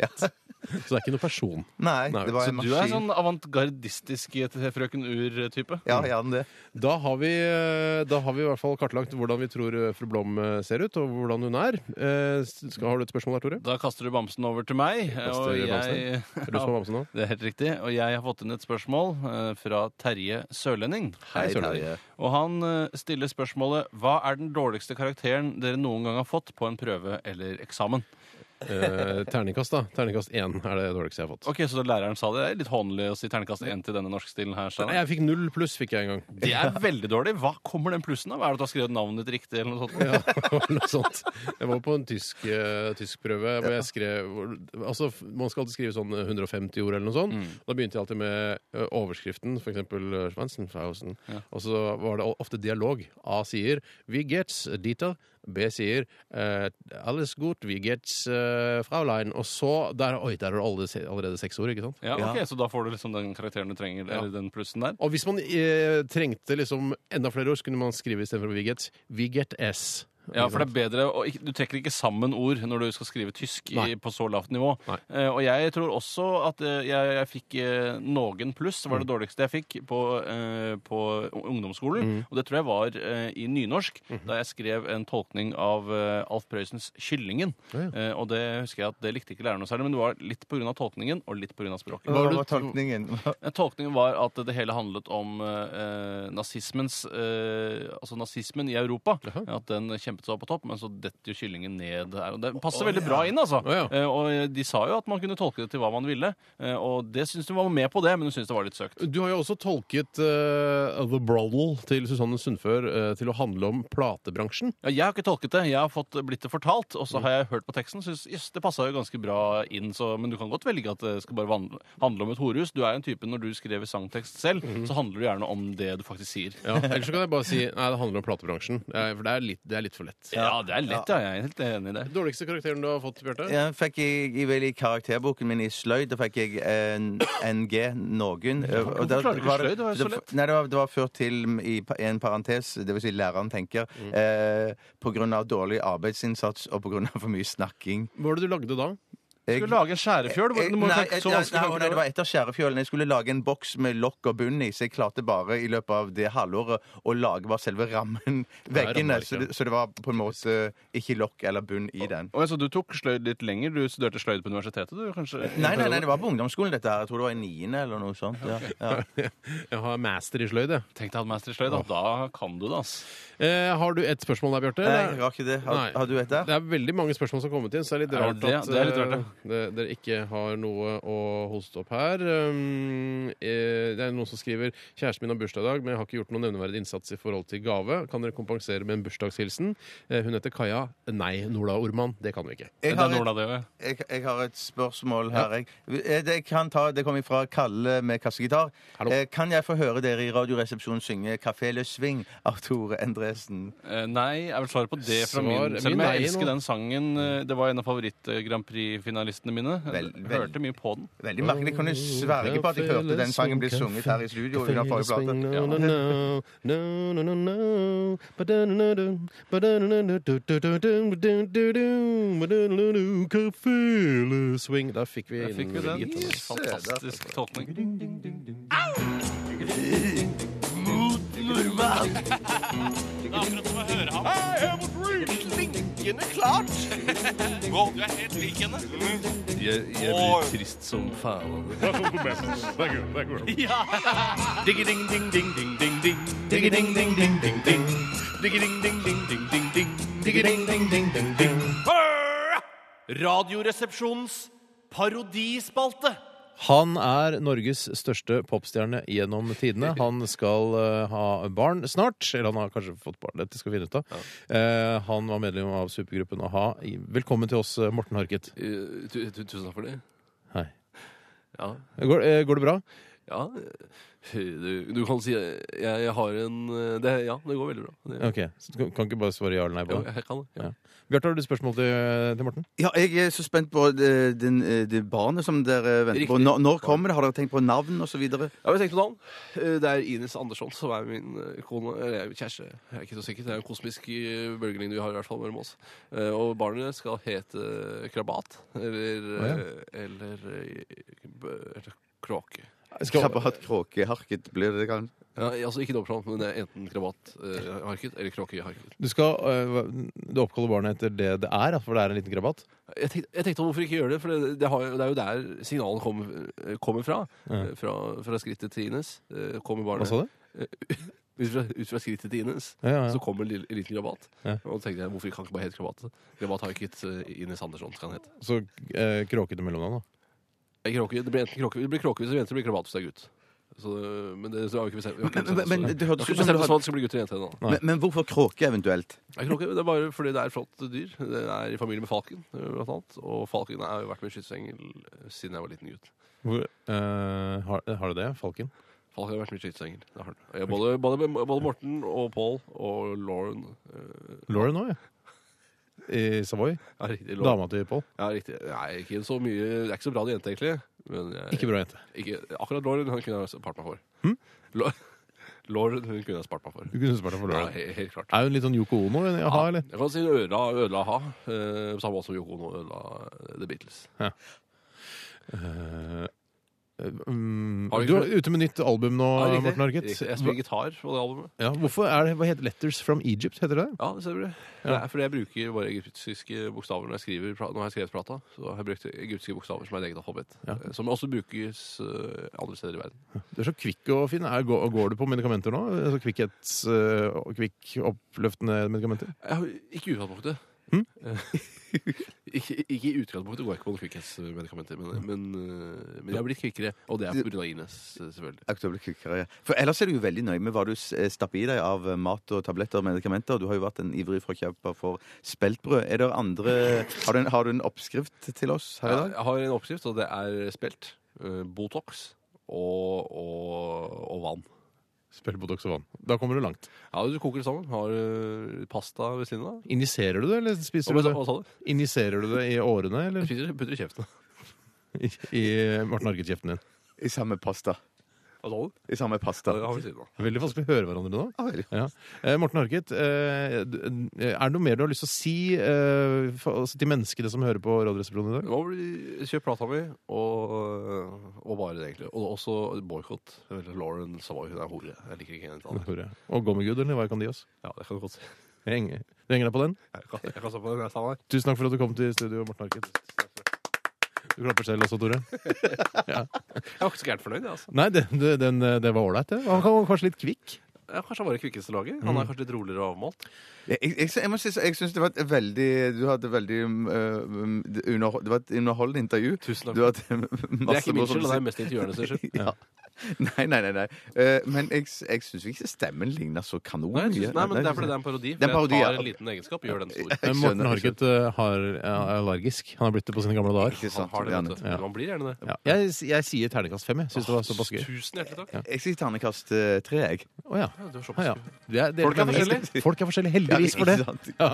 Ja. Så det er ikke noen person? Nei, det var så en du er maskin. sånn avantgardistisk i et frøken Ur-type? Ja, gjerne det. Da har, vi, eh, da har vi i hvert fall kartlagt hvordan vi tror eh, fru Blom eh, ser ut, og hvordan hun er. Eh, Skal, har du et spørsmål her, Tore? Da kaster du bamsen over til meg. Kaster og du jeg, bamsen? Er det du som har bamsen nå? Det er helt riktig. Og jeg har fått inn et spørsmål eh, fra Terje Sørlending. Hei, Sørlending. Terje. Og han eh, stiller spørsmålet Hva er den dårligste karakteren dere noen gang har fått på en prøve eller eksamen? Eh, terningkast, da. Terningkast én er det dårligste jeg har fått. Ok, Så læreren sa det. Det er litt hånlig å si terningkast én til denne norskstilen her. Steinar. Nei, jeg fikk null pluss fikk jeg en gang. Det er veldig dårlig. Hva kommer den plussen av? Er det at du har skrevet navnet ditt riktig? eller noe sånt? Ja, det var noe sånt. Jeg var på en tysk, eh, tysk prøve hvor jeg skrev hvor- Altså, f- Man skal alltid skrive sånn 150 ord eller noe sånt. Da begynte jeg alltid med eh, overskriften, f.eks. Schwanzenfausen. Og så var det o- ofte dialog. A sier 'Vi gets Dita'. B sier eh, 'Alles gut, vi gets eh, Fraulein'. Og så der, Oi, der er det alle se- allerede seks ord, ikke sant? Ja, ok, Så da får du liksom den karakteren du trenger, eller den plussen der. Og hvis man eh, trengte liksom enda flere ord, så kunne man skrive istedenfor 'we get', 'we get s'. Ja, for det er bedre å ikke- Du trekker ikke sammen ord når du skal skrive tysk i, Nei. på så lavt nivå. Eh, og jeg tror også at eh, jeg, jeg fikk eh, noen pluss, var det dårligste jeg fikk på, eh, på ungdomsskolen. Mm. Mm-hmm. Og det tror jeg var eh, i nynorsk, da jeg skrev en tolkning av eh, Alf Prøysens 'Kyllingen'. Eh, og det husker jeg at det likte ikke læreren noe særlig, men det var litt pga. tolkningen og litt pga. språket. Hva var tolkningen? Eh, Tolkningen var at det hele handlet om eh, nazismens eh, Altså nazismen i Europa. At den kjempet seg opp på topp, men så detter jo kyllingen ned her. Og det passer Å, veldig ja. bra inn, altså. Å, ja. Eh, og de sa jo at man kunne tolke det til hva man ville. eh, og det syns de var med på det, men de syns det var litt søkt. Du har jo også tolket eh, The Broddle til Susanne Sundfør eh, til å handle om platebransjen. Ja, jeg har ikke tolket det. Jeg har fått blitt det fortalt, og Mm. så har jeg hørt på teksten. Synes, jøss, det passa jo ganske bra inn, så, men du kan godt velge at det skal bare van- handle om et horehus. Du er jo en type når du skriver sangtekst selv, Mm. så handler du gjerne om det du faktisk sier. Ja, Ellers så kan jeg bare si nei, det handler om platebransjen. Eh, For det er litt, det er litt for lett. Ja, det er lett, ja. Jeg er helt enig i det. Dårligste karakteren du har fått, Bjarte? Ja, fikk jeg, jeg vel I karakterboken min i sløyd da fikk jeg eh, en, NG noen. Hvorfor da klarer du ikke sløyd? var Det var jo så lett. Nei, det var, det var ført til mm, i pa- en parentes, det vil Si læreren tenker, Mm. eh, på grunn av dårlig arbeidsinnsats og på grunn av for mye snakking. Hva var det du lagde da? Jeg, Skulle lage en skjærefjøl? jeg, Du må Eh, nei, jo nei, tenke så nei, vanskelig tanker nei, det der. var etter skjærefjølen. Jeg skulle lage en boks med lokk og bunn i, så jeg klarte bare i løpet av det halvåret å lage bare selve Nei, rammen, veggene. rammer Så ikke. det, så det var på en måte ikke lokk eller bunn i den. Å, ja, så du tok sløyd litt lenger? Du studerte sløyd på universitetet, du, kanskje? Nei, nei, nei, det var på ungdomsskolen dette her. Jeg tror det var i niende eller noe sånt. Ja. Ja. Jeg har master i sløyd, jeg. Tenk deg å ha master i sløyd, da. Da kan du det, ass. Eh, har du et spørsmål der, Bjarte? Nei, eller? jeg har ikke det. Har- Nei. har du et der? Det er veldig mange spørsmål som har kommet inn, så det er litt Er rart det- at det er litt rart, eh, det- dere ikke har noe å hoste opp her. Um, eh, det er noen som skriver 'Kjæresten min har bursdag i dag, men jeg har ikke gjort noen nevneverdig innsats i forhold til gave'. Kan dere kompensere med en bursdagshilsen? Eh, hun heter Kaja. Nei, Norda Orman. Det kan vi ikke. Jeg har, et, jeg, jeg har et spørsmål her. Jeg. Eh, Det, kan ta, det kommer fra Kalle med kassegitar. Eh, Kan jeg få høre dere i Radioresepsjonen synge 'Kafé Le Swing' av Tore Endresen? Eh, Nei, er vel svaret på det fra Svar- min. Selv om min jeg nei elsker nå. den sangen. eh, Det var en av favoritt-Grand Prix-finalistene mine. Vel- Jeg vel- Hørte mye på den. Veldig merkelig. Jeg kunne sverge på at jeg hørte den sangen bli sunget her i studio under forrige plate. No, no, no, no, no, no, no. Ba-da-da-da-dum, ba-da-da-da-da-da-da-dum, ba-da-da-da-dum, ba-da-da-da-dum, Kafele Swing. Der fikk vi Der fikk inn vi den. gitaren. Fantastisk tolkning. Nordmann! Det er akkurat som å høre ham. Jeg er Klinkende klart! Du er helt lik henne. Mm. Jeg, jeg blir trist som faen. Ja! Diggi-ding-ding-ding-ding-ding-ding. Diggi-ding-ding-ding-ding-ding. Diggi-ding-ding-ding-ding-ding. Diggi-ding-ding-ding-ding-ding. Radioresepsjonens parodispalte. Han er Norges største popstjerne gjennom tidene. Han skal eh, ha barn snart. Eller han har kanskje fått barn, dette skal vi finne ut av. Eh, han var medlem av supergruppen A-ha. Velkommen til oss, eh, Morten Harket. Eh, tu- tu- Tusen takk for det. Hei. Ja. Går, eh, går det bra? Ja, eh, du, du kan si eh, jeg, jeg har en eh, det, Ja, det går veldig bra. Det, Ok, så du kan- Kan ikke bare svare ja eller nei på Jo, jeg kan det, ja. Ja. Bjarte, har du et spørsmål til, til Morten? Ja, jeg er så spent på det, den, eh, det barnet som dere venter på. Når, når kommer det? Har dere tenkt på navn osv.? Ja, vi tenkte på navn. Eh, Det er Ines Andersson som er min eh, kone Eller jeg er kjæreste. Jeg er ikke så sikker. Det er en kosmisk eh, bølgelengde vi har i hvert fall mellom oss. Eh, Og barnet skal hete Krabat. Eller Å, ja. eh, Eller, eh, b- eller Kråke. Krabat, kråke, harket blir det kanskje? Ja, altså ikke dobbeltnavn, men det er enten krabatharket eller kråkeharket. Du skal eh, hva- du oppkaller barnet etter det det er, da, for det er en liten krabat? Jeg tenkte, jeg tenkte hvorfor ikke gjøre det, for det, det, har, jo- det er jo der signalene kommer, kommer fra. Ja. Eh, Fra, fra skrittet til Ines. eh, Kommer barnet Hva sa du? Eh, Ut fra, ut fra skrittet til Ines, Ja, ja, ja. så kommer en lille- en liten krabat. Ja. Og da tenkte jeg, hvorfor kan ikke bare hete krabat? Krabat har ikke et eh, Ines Andersson, skal han hete. Så eh, kråkete mellomnavn, da. Eh, Kråke, det blir enten kråke, det blir kråke hvis det blir jente, det blir krabat hvis det er gutt. Så, men det så har vi ikke bestemt. vi har ikke Men- bestemt oss men- for men det Vi har hørtes ut ikke som du bestemt oss hadde- for at det skal bli gutt eller jente ennå. Men, men hvorfor kråke eventuelt? Nei, kråke, Det er bare fordi det er et flott dyr. Det er i familie med falken, eh, blant annet. Og falken har jo vært min skytsengel eh, siden jeg var liten gutt. Hvor, eh, har, har du det? Falken? Falken har vært min skytsengel. det har den. Eh, Både, både, både Morten og Paul og Lauren. eh, Lauren òg, ja. I Savoy? Ja, riktig, Lauren. Dama til Pål? Ja, riktig. Nei, ikke så mye Det er ikke så bra det jente, egentlig. Men eh, jeg, Ikke bra jente. Ikke, akkurat Lauren han kunne ha spart meg for. Hm? Lau- Lord hun kunne jeg spart meg for. Du kunne spart deg for lørdag. Ja, he- helt klart. Er hun litt sånn Yoko Ono? en jeg har, eller? Jeg kan si hun ødela, ødela ha. Eh, samme også Yoko Ono ødela eh, The Beatles. Ja. Eh, mm, Har vi du ikke- er ute med nytt album nå, Ja, riktig. Morten Harket. Riktig. Jeg spiller gitar på det albumet. Ja, hvorfor er det, Hva heter Letters from Egypt? heter det? Ja, det stemmer det. Ja. Det er fordi jeg bruker bare egyptiske bokstaver når jeg skriver pla- Nå har jeg skrevet plata, så har jeg brukt egyptiske bokstaver som er en egen alfabet. Ja. Eh, Som også brukes eh, andre steder i verden. Du er så kvikk og fin. Er, går, går du på medikamenter nå? Altså kvikkhets... eh, og kvikk oppløftende medikamenter? Jeg har ikke i utgangspunktet. Hm? ikke, ikke i utgangspunktet går jeg ikke på noen kvikkhetsmedikamenter, men, men, eh, men jeg har blitt kvikkere. Og det er pga. Ines, eh, selvfølgelig. Aktuelle kvikkere. For ellers er du jo veldig nøye med hva du s- eh, stapper i deg av mat og tabletter og medikamenter. Du har jo vært en ivrig forkjemper for speltbrød. Er det andre har du, en, har du en oppskrift til oss her i Ja, dag? jeg har en oppskrift, og det er spelt. eh, Botox og, og, og vann. Spell Botox og vann. Da kommer du langt. Ja, Du koker det sammen. Har eh, pasta ved siden av. Injiserer du det, eller spiser Hva du det? sa- hva sa du? Injiserer du det i årene, eller? Jeg spiser, putter i kjeften. I, i Morten Harket-kjeften din. I samme pasta. Hva sa du? I samme pasta. Ja, det har vi siden av. Veldig vanskelig å høre hverandre nå. Ja. Eh, Morten Harket, eh, d- er det noe mer du har lyst til å si eh, for, altså, til menneskene som hører på Radioresepsjonen i dag? Nå blir- Kjøp plata mi, og, øh, og bare det, egentlig. Og også boikott. Lauren Savoy, hun er hore. Jeg likker ikke henne. Hore. Og Gummigud, eller hva kan de oss? Ja, det kan du godt si. Jeg henger, du henger deg på den? Jeg kan, jeg kan stå på den, jeg sa nei. Tusen takk for at du kom til studio, Morten Harket. Du klapper selv også, Tore. Ja. Jeg var ikke så gærent fornøyd, jeg, altså. Nei, det, det, den, eh, det var ålreit, det. Han kan- var kanskje litt kvikk. Ja, kanskje han var det kvikkeste laget. Han er kanskje litt roligere og avmålt. Jeg, jeg, jeg, jeg må si, så- jeg syns det var et veldig Du hadde veldig um, det underhold- Det var et underholdende intervju. Tusen takk. Du hadde Det er ikke min morsomt skyld, det er å mest si. intervjuerne sin skyld. ja. Nei, nei, nei. nei. Eh, men jeg, jeg syns ikke stemmen ligner så kanon Nei, jeg synes- mye. nei, men det er fordi det er en parodi, for jeg tar ja. en liten egenskap og gjør den stor. Jeg Men Morten skjønner, jeg Harket eh, har, er allergisk. Han har blitt det på sine gamle dager. sant, Han har det, gjerne. vet du. Man blir gjerne det. Ja. Jeg, jeg sier terningkast fem. Jeg syns det var såpass gøy. Tusen hjertelig takk. Ja. Jeg sier ternekast eh, tre, jeg. Å ja. Ja, du er såpass Ja, ja. gøy. Det er- det Folk er forskjellige. Folk er forskjellige, heldigvis Ja, for det. ikke sant. Ja.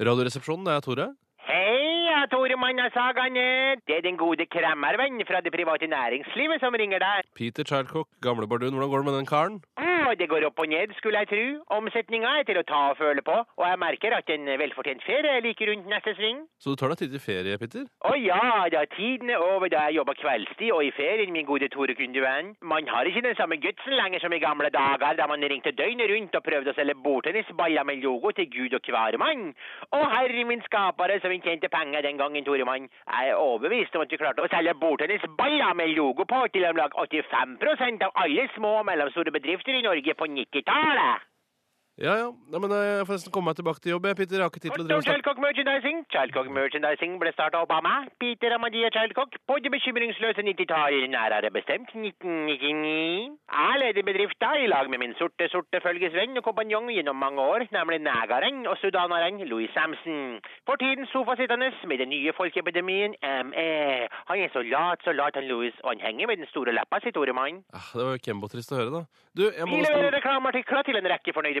Radioresepsjonen, det er Tore. Hei, jeg er Tore Manna Sagane. Eh, Det er den gode kremmervenn fra det private næringslivet som ringer deg. Peter Childcock, gamle bardun. Hvordan går det med den karen? Mm, og det går opp og ned, skulle jeg tru. Omsetninga er til å ta og føle på, og jeg merker at en velfortjent ferie er like rundt neste sving. Så du tar deg tid til ferie, Peter? Å ja, da tiden er over da jeg jobber kveldstid og i ferien, min gode Tore Kundevenn. Man har ikke den samme gutsen lenger som i gamle dager, da man ringte døgnet rundt og prøvde å selge bordtennisballer med logo til gud og hvermann. Å herre min skapere, som ikke tjente penger den gangen, Tore Mann. Jeg er overbevist om at vi klarte å selge bordtennisballer med logo på til om lag 85 av alle små og mellomstore bedrifter i Norge på 90-tallet. Ja, ja. Nei, men eh, jeg får nesten komme meg tilbake til jobb, jeg, Peter. Jeg har ikke tid til å drive og snakke. Childcock Merchandising. Childcock Merchandising ble starta opp av meg, Peter Amadia Childcock, på det bekymringsløse 90-tallet, nærere bestemt 1999. Jeg leder bedrifta i lag med min sorte, sorte følgesvenn og kompanjong gjennom mange år, nemlig negeren og sudaneren Louis Samson. For tiden sofasittende med den nye folkeepidemien ME. Han er så lat, så lat han Louis, og han henger med den store leppa si, Tore Mann. Ah, Det var jo Kembo-trist å høre, da. Du, jeg må Vi leverer nesten reklameartikler til en rekke fornøyde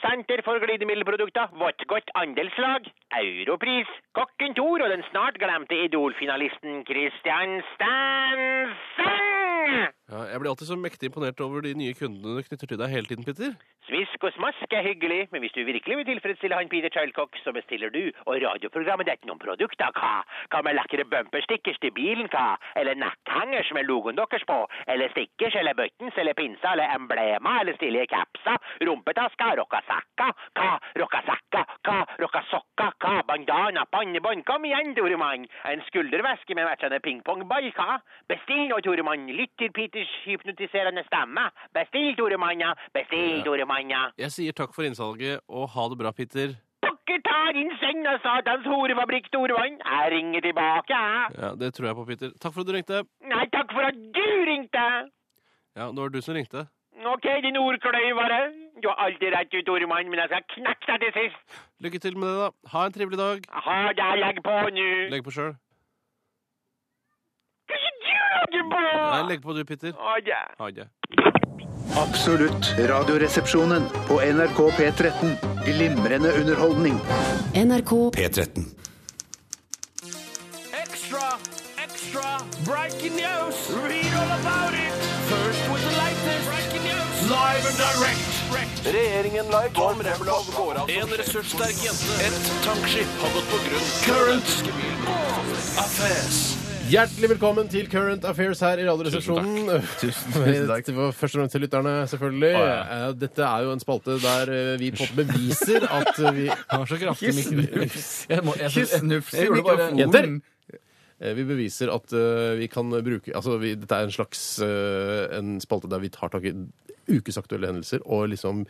Senter for glidemiddelprodukter, Vottgodt andelslag, Europris, Kokken Thor og den snart glemte Idol-finalisten Christian Stansen! ja, Jeg blir alltid så mektig imponert over de nye kundene du knytter til deg hele tiden, Peter. Svisk og smask er hyggelig, men hvis du virkelig vil tilfredsstille han Peter Childcock, så bestiller du og radioprogrammet ditt noen produkter, hva? Hva med lekre bumperstickers til bilen, hva? Eller netthengers med logoen deres på? Eller stickers, eller buttons, eller pinser, eller emblemer, eller stilige capser, rumpetasker, rockasekker, hva? Rockasekker, hva? Rockasokker, hva? Bandana, pannebånd, kom igjen, Tore Mann! En skulderveske med matchende pingpongball, hva? Bestill nå, Tore Mann, lytt til Peters hypnotiserende stemme. Bestill, Tore Mann, ja. bestill, Ja. Tore Mann, ja. Jeg sier takk for innsalget, og ha det bra, Peter. Pokker ta din sønn og satans horefabrikk, Tore Mann. Jeg ringer tilbake, jeg. Ja, Det tror jeg på, Peter. Takk for at du ringte. Nei, takk for at du ringte. Ja, det var du som ringte. Ok, din ordkløyvere. Du har aldri rett ut, Ormann, men jeg skal knekke deg til sist. Lykke til med det, da. Ha en trivelig dag. Ha det, legg på nå. Legg på sjøl. Legg på! Nei, legg på du, Petter. Ha det. Ha det. Absolutt radioresepsjonen på NRK P13. Glimrende underholdning. NRK P13. Extra, extra, breaking news. Read all about it. First with the latest. Breaking news. Live and direct. Regjeringen la i går En ressurssterk jente. Et tankskip har gått på grunn. Current affairs. Hjertelig velkommen til Current Affairs her i Radioresepsjonen. Tusen tusen takk. Til vår første gang til lytterne, selvfølgelig. Å, ja. Eh, Dette er jo en spalte der eh, vi på en måte beviser at eh, vi har så kraftig Ikke mikro- snufs. Jeg må- jeg- Ikke snufs i jeg gjorde bare- mikrofonen. Jenter! Eh, Vi beviser at eh, vi kan bruke Altså, vi, dette er en slags eh, en spalte der vi tar tak i ukesaktuelle hendelser og liksom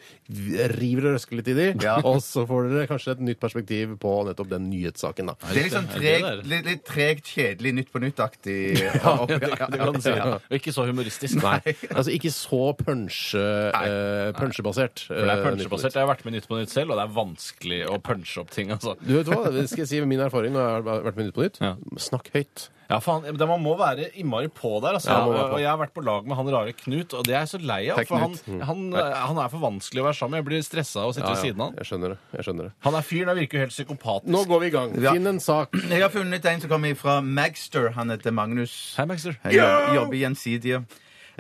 river og røsker litt i de. Og så får dere kanskje et nytt perspektiv på nettopp den nyhetssaken, da. Det er litt sånn tregt, litt, litt tregt, kjedelig, Nytt på nytt-aktig. Ja, ja, ja, det kan du si. Ja. Og ikke så humoristisk. Nei. Altså ikke så punsje, eh, punsjebasert. For det er eh, punsjebasert. Jeg har vært med i Nytt på Nytt selv, og det er vanskelig å punche opp ting. altså. nytt. Du vet hva, det skal jeg si min erfaring når jeg har vært med Nytt på Nytt? Snakk høyt. Ja, faen, men Man må være innmari på der. altså. Ja, man må være på. og Jeg har vært på lag med han rare Knut, og det er jeg så lei av. Hei, For han, Knut. Mm. han, eh, han er for vanskelig å være sammen med. Jeg blir stressa av å sitte Ja, ja. ved siden av han. Jeg skjønner det. jeg skjønner det. Han er fyren der virker jo helt psykopatisk. Nå går vi i gang. Finn en sak. Jeg har funnet en som kommer fra Magster. Han heter Magnus. Hei, Magster. Jeg jobber, jobber i Gjensidige.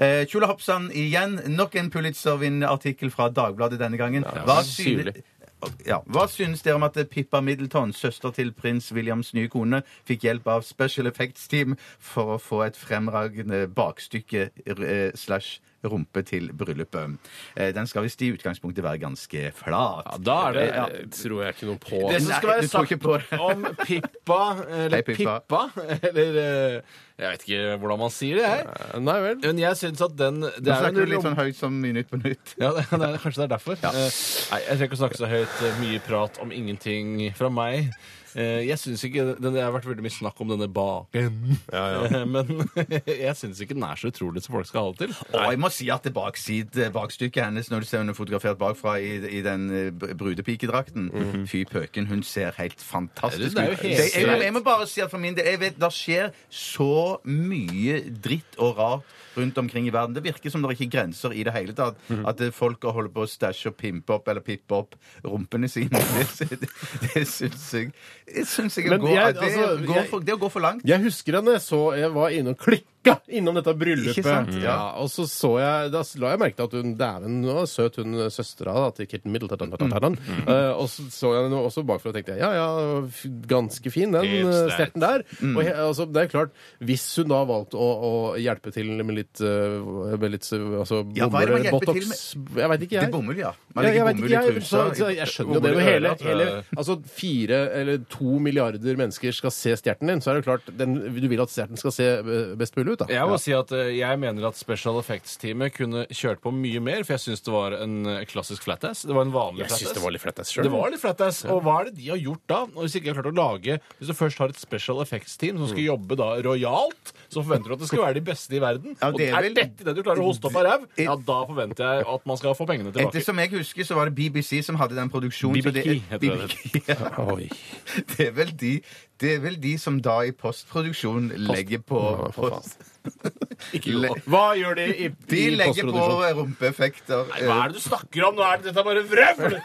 Eh, Tjolahoppsann igjen. Nok en Pulitzer-vinnerartikkel fra Dagbladet denne gangen. Hva men synes, syrlig. ja. Hva synes dere om at Pippa Middleton, søster til prins Williams nye kone, fikk hjelp av Special Effects Team for å få et fremragende bakstykke eh, slash rumpe til bryllupet? Eh, Den skal visst i utgangspunktet være ganske flat. da er det- Eh, tror jeg ikke noe på. Det som skal være du tror ikke sagt på det. om Pippa, eller Hei, Pippa. Pippa, eller eh, Jeg vet ikke hvordan man sier det her. Eh, Nei vel. Men jeg syns at den det Nå er jo en snakker du litt rom- sånn høyt som i Nytt på Nytt. Ja, det, det er, kanskje det er derfor. Eh, nei, jeg trenger ikke å snakke så høyt. eh, Mye prat om ingenting fra meg. Eh, jeg synes ikke, den- Det har vært veldig mye snakk om denne baken, Ja, ja. Eh, men jeg syns ikke den er så utrolig som folk skal ha det til. Og jeg må si at det bakside, bakstykket hennes når du ser henne fotografert bakfra i, i den eh, br- brudepikedrakten Fy pøken, hun ser helt fantastisk ut. Det er jo helt jeg, jeg, greit. jeg må bare si at for min del jeg vet, Det skjer så mye dritt og rart rundt omkring i verden. Det virker som det ikke er grenser i det hele tatt. At eh, folk holder på å stæsje og pimpe opp eller pippe opp rumpene sine. Det, sy- det, det syns jeg, det syns jeg, Men går, jeg- det, altså, går jeg- for, det går for langt. Jeg husker henne, så jeg var inne og klikka innom dette bryllupet. Ikke sant? Ja. Ja, og så så jeg, da la jeg merke til at hun dæven hun var søt, hun søstera da, til Kirsten Middleton. Mm. Eh, og så så jeg henne også bakfra og tenkte jeg, ja ja, f- ganske fin den Helt eh, sterk. stetten der. Mm. Og he, altså, det er klart, hvis hun da valgte å, å hjelpe til med litt, eh, med litt eh, altså, Ja, hva er det bomull, man hjelper til botox Jeg veit ikke, jeg. Det er bomull, ja. Man Ja, legger jeg vet ikke, bomull i jeg, trusa, så, så i- jeg skjønner jo det. bomull i Når hele, øra, tror hele, jeg. altså fire eller to milliarder mennesker skal se stjerten din, så er det klart den, du vil at stjerten skal se eh, best mulig ut, da. Jeg må Ja. si at eh, jeg mener at Special Effects-teamet kunne kjørt på mye mer, for jeg syns det var en eh, klassisk flatass. Det var en vanlig Jeg synes det var litt flattass selv. Det var litt flattass, Ja. Og hva er det de har gjort da? Og Hvis ikke de har klart å lage Hvis du først har et Special Effects-team som Mm. skal jobbe da rojalt, så forventer du at det skal være de beste i verden. Ja, og det er er vel- dette det du klarer å hoste opp av ræv, ja, da forventer jeg at man skal få pengene tilbake. Ettersom jeg husker, så var det BBC som hadde den produksjonen. så det- BBK heter det. BBK, ja. Det er vel de det er vel de som da i postproduksjon legger på post. Hva gjør de i, De i legger på rumpeeffekter. Nei, hva er det du snakker om? Nå er det, dette er bare vrøvl!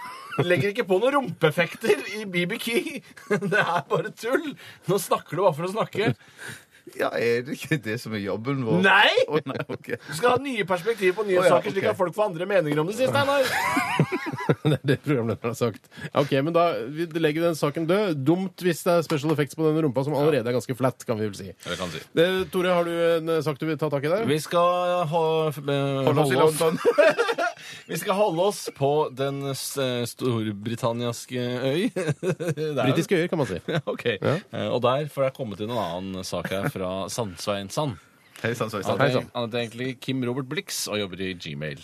Legger ikke på noen rumpeeffekter i BBK. Det er bare tull. Nå snakker du bare for å snakke. Ja, er det ikke det som er jobben vår? Nei! Å, nei ok. Du skal ha nye perspektiv på nye Å, ja, saker, slik ok. at folk får andre meninger om det, sier Steinar. Det er det programlederen har sagt. Ja, OK, men da vi legger vi den saken død. Dumt hvis det er special effects på den rumpa som allerede er ganske flat, kan vi vel si. Det kan si. Eh, Tore, har du en eh, sak du vil ta tak i der? Vi skal ho holde oss i London. Vi skal holde oss på den s- eh, storbritanniaske øy. Britiske øyer, kan man si. Ok. Eh, Og der får jeg kommet inn en annen sak her fra Sandsveinsand. Hei sånn. sann, sveisann. Han heter- han heter egentlig Kim Robert Blix og jobber i Gmail.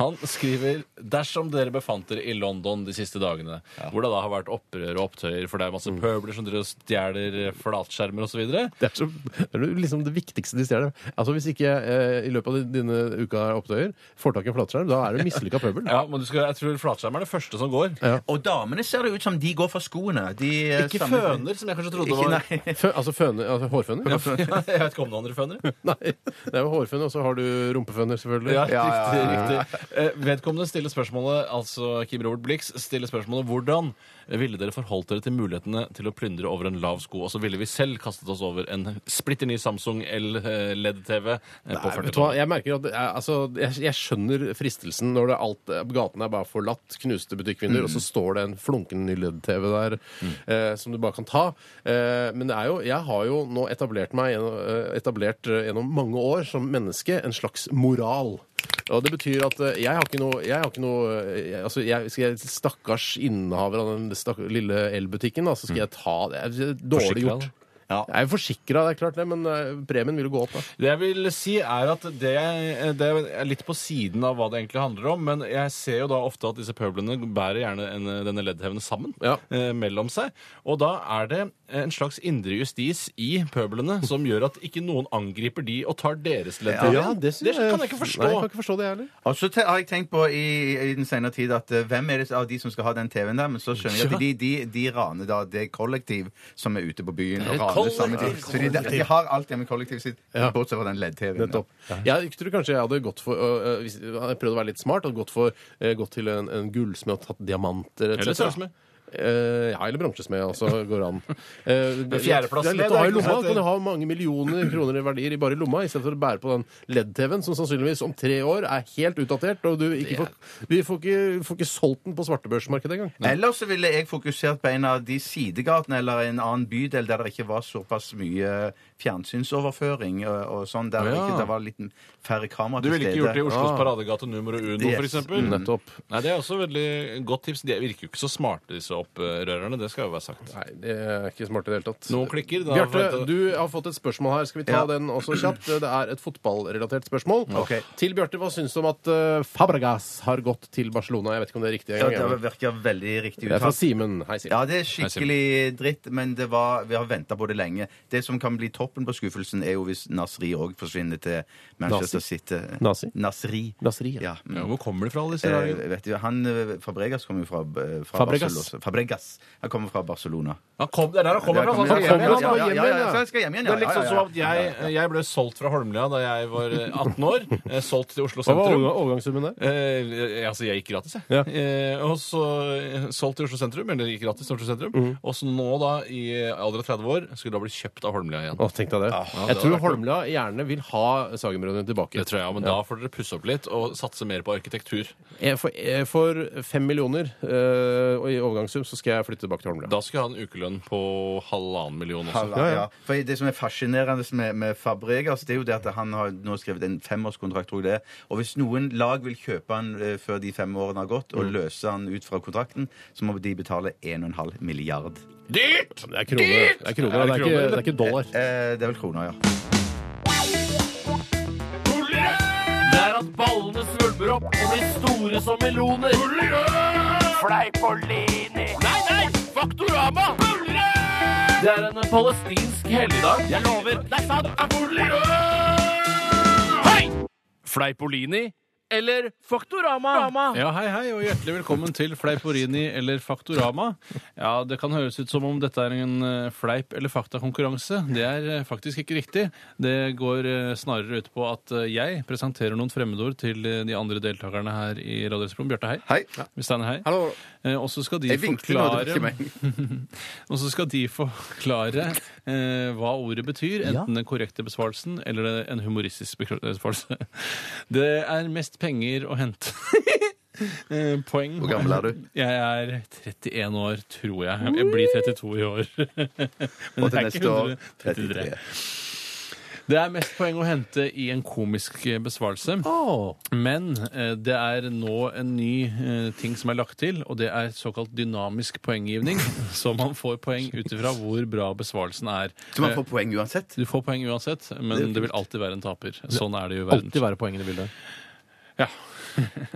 Han skriver dersom dere befant dere i London de siste dagene, hvor det da har vært opprør og opptøyer, for det er masse Mm. pøbler som driver og stjeler eh, flatskjermer osv. Det er, så, det er jo liksom det viktigste de stjeler. Altså Hvis ikke jeg eh, i løpet av dine uka er opptøyer får tak i en flatskjerm, da er du mislykka pøbel. Ja, men du skal, jeg tror flatskjerm er det første som går. Og damene ser det ut som de går for skoene. De, eh, Ikke stammer- føner, som jeg kanskje trodde Ikke- var- nei. Fø, altså føne, altså hårføner? Ja, jeg vet ikke om noen andre føner. Nei, det er jo hårføner, og så har du rumpeføner, selvfølgelig. Ja, riktig, riktig. Eh, Vedkommende stiller spørsmålet, altså Kim Robert Blix, stiller spørsmålet hvordan ville dere forholdt dere til mulighetene til å plyndre over en lav sko? Og så ville vi selv kastet oss over en splitter ny Samsung L-LED-TV eh, på Vet du hva, 40 jeg merker at det er, altså, jeg, jeg skjønner fristelsen når det er alt, gaten er bare forlatt, knuste butikkvinduer, Mm. og så står det en flunkende ny LED-TV der eh, som du bare kan ta. Eh, men det er jo, jeg har jo nå etablert meg gjennom, eh, etablert eh, gjennom mange år som menneske en slags moral. Og det betyr at eh, jeg har ikke noe, jeg har ikke noe eh, jeg, altså jeg, Skal jeg stakkars innehaver av den stakk, lille elbutikken, da, så skal jeg ta det. Det er Mm. Forsikret, dårlig gjort. da. Ja. Jeg er forsikra, det er klart det, men eh, premien vil jo gå opp. da. Det jeg vil si er at det, det er litt på siden av hva det egentlig handler om, men jeg ser jo da ofte at disse pøblene bærer gjerne en, denne leddhevende sammen eh, mellom seg, og da er det en slags indre justis i pøblene som gjør at ikke noen angriper de og tar deres leddhevn. Ja, det synes jeg- kan jeg ikke forstå. Nei, jeg kan ikke forstå det heller. Og så te- har jeg tenkt på i, i den senere tid at eh, hvem er det av de som skal ha den TV-en der? Men så skjønner jeg at de, de, de raner da det kollektiv som er ute på byen Det er et og raner sammen. kollektiv. Så de, de har alt det med kollektivet sitt, Ja. bortsett fra den LED-TV-en. Nettopp. Jeg tror kanskje jeg hadde gått for øh, øh, hvis, jeg hadde prøvd å være litt smart og gått, for, øh, gått til en, en gullsmed og tatt diamanter etc. Eller sølvsmed. Eh, ja, eller bransjesmed også går an. Uh, Men fjerdeplass det er lett å ha i leder, lomma. ikke sant? Kan du ha mange millioner kroner i verdier i bare i lomma, istedenfor å bære på den LED-TV-en som sannsynligvis om tre år er helt utdatert, og du ikke får, vi får ikke, får ikke solgt den på svartebørsmarkedet engang. Ellers så ville jeg fokusert på en av de sidegatene eller en annen bydel der det ikke var såpass mye fjernsynsoverføring og, og sånn, der Å, ja. ikke, det var litt færre kamera Du til ville stede. ikke gjort det i Oslos Ah. Paradegate numero uno, Yes. for eksempel? Mm. Nettopp. Nei, det er også veldig godt tips. De virker jo ikke så smarte, disse opprørerne. Det skal jo være sagt. Nei, det er ikke smart i det hele tatt. Noen klikker. da Bjarte, forventer- du har fått et spørsmål her. Skal vi ta Ja. den også kjapt? Det er et fotballrelatert spørsmål. Ok. Til Bjarte, hva syns du om at eh, Fabregas har gått til Barcelona? Jeg vet ikke om det er riktig. engang, Ja, det jeg. virker veldig riktig Det er fra Simen. Hei, Simen. Ja, det er skikkelig dritt, men det var, vi har venta på det lenge. Det som kan bli toppen på skuffelsen, er jo hvis Nasri òg forsvinner til Manchester Nazi. City. Nazi? Nasri. Nasri, ja. mm. Ja, hvor kommer de fra, alle disse? Eh, rare- vet du, han, eh, Fabregas kommer jo fra, eh, fra Fabregas. Barcelona. Fabregas. Han kommer fra Barcelona. Han kom, det er der han kommer Ja, fra! kommer så han hjem skal igjen, hjem ja, ja, igjen, ja, ja, så jeg skal hjem igjen, Det er ja, litt ja, sånn ja, som ja. at jeg, jeg ble solgt fra Holmlia da jeg var eh, 18 år. eh, Solgt til Oslo Hva var sentrum. overga- overgangssummen der? Eh, altså, jeg gikk gratis, jeg. Ja. Eh, og så eh, solgt til Oslo sentrum, eller gikk gratis til Oslo sentrum. Mhm. Og så nå, da, i alder av 30 år, skulle da bli kjøpt av Holmlia igjen. Å, tenk deg det. Ja, det jeg hadde tror vært Holmlia gjerne vil ha Sagenbrødrene tilbake. Det tror jeg, men da får dere pusse opp litt og satse mer på arkitektur. Eh, For, eh, for fem millioner eh, og i overgangssum så skal jeg flytte tilbake til Holmlia. Da skal jeg ha en ukelønn på halvannen million også. Halla, ja. For Det som er fascinerende med, med Fabregas, det er jo det at han har nå skrevet en femårskontrakt. Tror jeg det. er. Og hvis noen lag vil kjøpe han eh, før de fem årene har gått, Mm. og løse han ut fra kontrakten, så må de betale 1,5 milliard. Dyrt! Det er kroner, det er, kroner, det er, ikke, det er ikke dollar. Eh, det er vel kroner, ja. Det er at ballene svulmer opp og blir store som meloner. Fleipolini. Nei, nei! Faktorama. Det er en palestinsk helligdag. Jeg lover. Det er sant. Hei! Fleipolini eller Faktorama. Ja, Hei, hei, og hjertelig velkommen til Fleiporini eller Faktorama. Ja, Det kan høres ut som om dette er en eh, fleip- eller faktakonkurranse. Det er eh, faktisk ikke riktig. Det går eh, snarere ut på at eh, jeg presenterer noen fremmedord til eh, de andre deltakerne her i Radioresepsjonen. Bjarte, hei. Hei. Steiner, hei. Hallo. Og så skal de Jeg vinkte nå, det var forklare Og så skal de forklare eh, hva ordet betyr, Ja. enten den korrekte besvarelsen eller en humoristisk bekl- eh, besvarelse. Det er mest penger å hente. Eh, Poeng. Hvor gammel er du? Jeg er 31 år, tror jeg. Jeg blir 32 i år. Og Men til det er neste ikke år, 133. Det er mest poeng å hente i en komisk eh, besvarelse. Men eh, det er nå en ny eh, ting som er lagt til, og det er såkalt dynamisk poenggivning. Så man får poeng ut ifra hvor bra besvarelsen er. Så man Eh, får poeng uansett? Du får poeng uansett, Det er men jo det vil alltid være en taper. Sånn er det jo i verden. Alltid være poengene i bildet.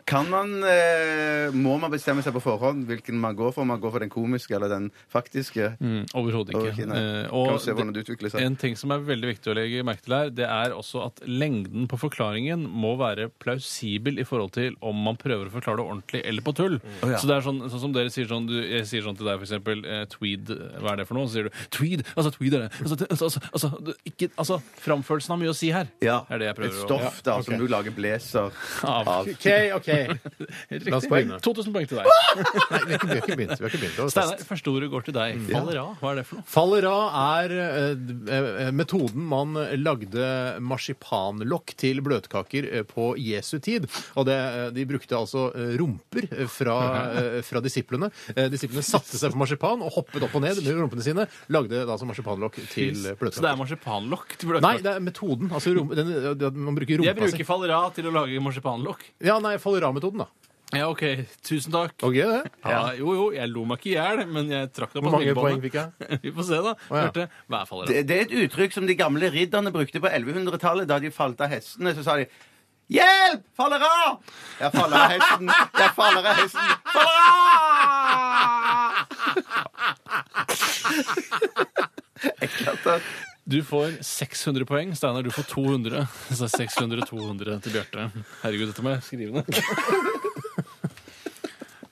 Kan man, eh, må man bestemme seg på forhånd hvilken man går for? Om man går for den komiske eller den faktiske? Mm, Overhodet ikke. Ok, nei. Eh, kan vi se hvordan det utvikler seg. En ting som er veldig viktig å legge merke til her, det er også at lengden på forklaringen må være plausibel i forhold til om man prøver å forklare det ordentlig eller på tull. Mm. Å, ja. Så det er sånn, sånn som dere sier sånn, du, jeg sier sånn til deg for eksempel, eh, tweed, hva er det for noe? Så sier du, tweed, altså tweed er det. Altså, det- altså, altså, altså, det- ikke, altså framførelsen har mye å si her. Ja. Er det jeg prøver Et å- stoff Ja, da, ok. som du lager blazer Av. av. Ok, ok. La oss Riktig. begynne. 2000 poeng til deg. Nei, vi har ikke begynt. Vi har ikke begynt. Det var Steinar, fest. første ordet går til deg. Mm. Faller av. Hva er det for noe? Fallera er eh, d- eh, metoden man lagde marsipanlokk til bløtkaker eh, på Jesu tid. Og det, eh, de brukte altså eh, rumper eh, fra, eh, fra disiplene. Eh, Disiplene satte seg på marsipan og hoppet opp og ned med rumpene sine. Lagde da altså marsipanlokk til eh, Så det er bløtkaker. marsipanlokk til Nei, bløtkaker? det er metoden. Altså rum, den, det at man bruker Jeg rumpa si. bruker fallera til å lage marsipanlokk. Ja, nei, fallera-metoden, da. Ja, OK. Tusen takk. Ok, det. Ja, jo, jo, jeg lo meg ikke i hjel, men jeg trakk deg på Hvor mange smilebåndet. poeng fikk jeg? Vi får se, da. Å, Hørte, hva er fallera? Det, det er et uttrykk som de gamle ridderne brukte på 1100-tallet. Da de falt av hestene, så sa de Hjelp! Faller av! Jeg faller av hesten. Jeg faller av hesten. Faller Du får 600 poeng. Steinar, du får 200. Så 600-200 til Bjarte. Herregud, dette må jeg skrive ned.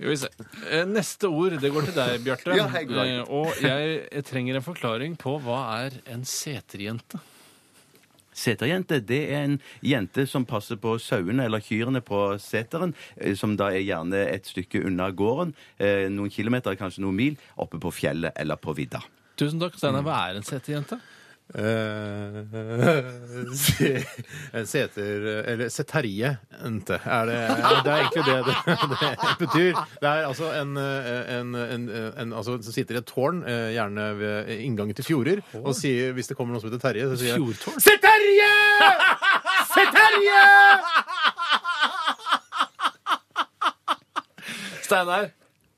Skal vi se. Eh, Neste ord, det går til deg, Bjarte. Ja, hei, god dag. Eh, Og jeg trenger en forklaring på hva er en seterjente? Seterjente det er en jente som passer på sauene eller kyrne på seteren, eh, som da er gjerne et stykke unna gården, eh, noen kilometer, kanskje noen mil, oppe på fjellet eller på vidda. Tusen takk, Steinar. Hva er en seterjente? Eh, se- Seter Eller seterie ente. Er det, det er egentlig det det, det betyr. Det er altså en, eh, en, en, en altså, som sitter i et tårn, eh, gjerne ved inngangen til fjorder, og sier, hvis det kommer noen som heter Terje, Altså, så sier jeg Se Terje! Se Terje! Steinar,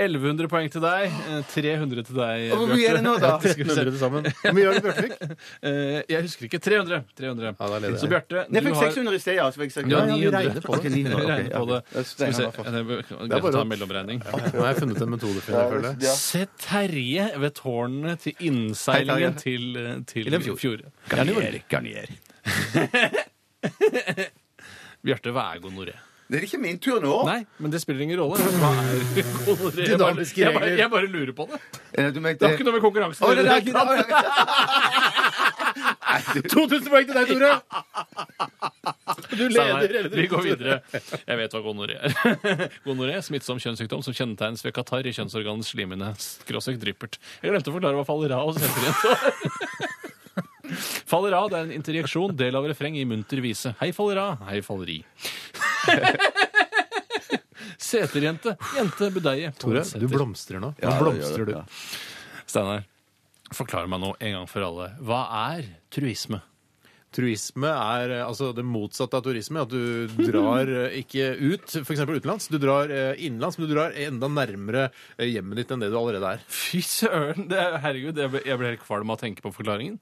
1100 poeng til deg. eh, 300 til deg, Hvor mye er det nå, da? 1300 til sammen. Hvor mye har du, Bjørtvik? Eh, Jeg husker ikke. 300. 300. leder så jeg. Bjarte, Nei, jeg fikk 600 i sted, ja. Så fikk jeg Du har 600. 900. Ok, 900, ok, Vi regner på ja. det. Skal vi se. Steinar var først. Det Det er er greit bare å ta å- en mellomregning. Nå har jeg funnet en metode for det, føler jeg. Se Terje ved tårnene til innseilingen Hei, Terje. til, eh, Til til en fjord. fjord. Garnier, Garnier. Bjarte, hva er gonoré? Det er ikke min tur nå. Nei, men det spiller ingen rolle. Hva er gonoré? Jeg bare, Dynamiske jeg, bare, regler. jeg bare lurer på det. Eh, Du mente Det har ikke noe med konkurransen Å, det er ikke- gjøre. 2000 poeng til deg, Tore! Du Steinar, leder. Vi går videre. Jeg vet hva gonoré er. Gonoré smittsom kjønnssykdom som kjennetegnes ved katarr i kjønnsorganets slimene. Skråsøk dryppert. Jeg glemte å forklare hva fallera og senterjente var. Fallera det er en interjeksjon, del av refreng i munter vise. Hei, fallera. Hei, falleri. Seterjente. Jente. Budeie. Tore, Toneseter. du blomstrer nå. Nå Ja, det gjør blomstrer det, du. ja. Steinar, forklar meg nå en gang for alle. Hva er truisme? Truisme er eh, altså det motsatte av turisme. At du drar eh, ikke ut, f.eks. utenlands. Du drar eh, innenlands, men du drar enda nærmere eh, hjemmet ditt enn det du allerede er. Fy søren! Det er, herregud, jeg ble, jeg ble helt kvalm av å tenke på forklaringen.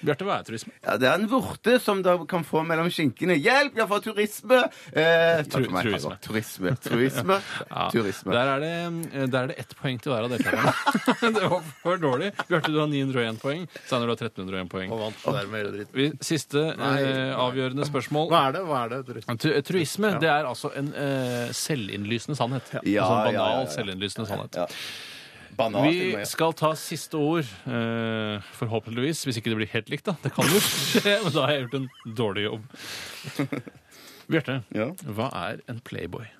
Bjarte, hva er turisme? Ja, det er en vorte som da kan få mellom skinkene. Hjelp, jeg får turisme! Eh, takk for meg. Turisme. Turisme. Turisme. Ja, turisme. Der er det, eh, der er det ett poeng til hver av deltakerne. det var for dårlig. Bjarte, du har 901 poeng. Steinar, du har 1301 poeng. Vi, siste Nei. eh, avgjørende spørsmål. Hva er det? Hva er det? Tore? Tu truisme Ja. det er altså en eh, selvinnlysende sannhet. Ja, en sånn ja, ja, banal ja, ja. selvinnlysende sannhet. Banal, til og Vi med. skal ta siste ord, eh, forhåpentligvis, hvis ikke det blir helt likt, da. Det kan jo skje, men da har jeg gjort en dårlig jobb. Bjarte, hva er en playboy?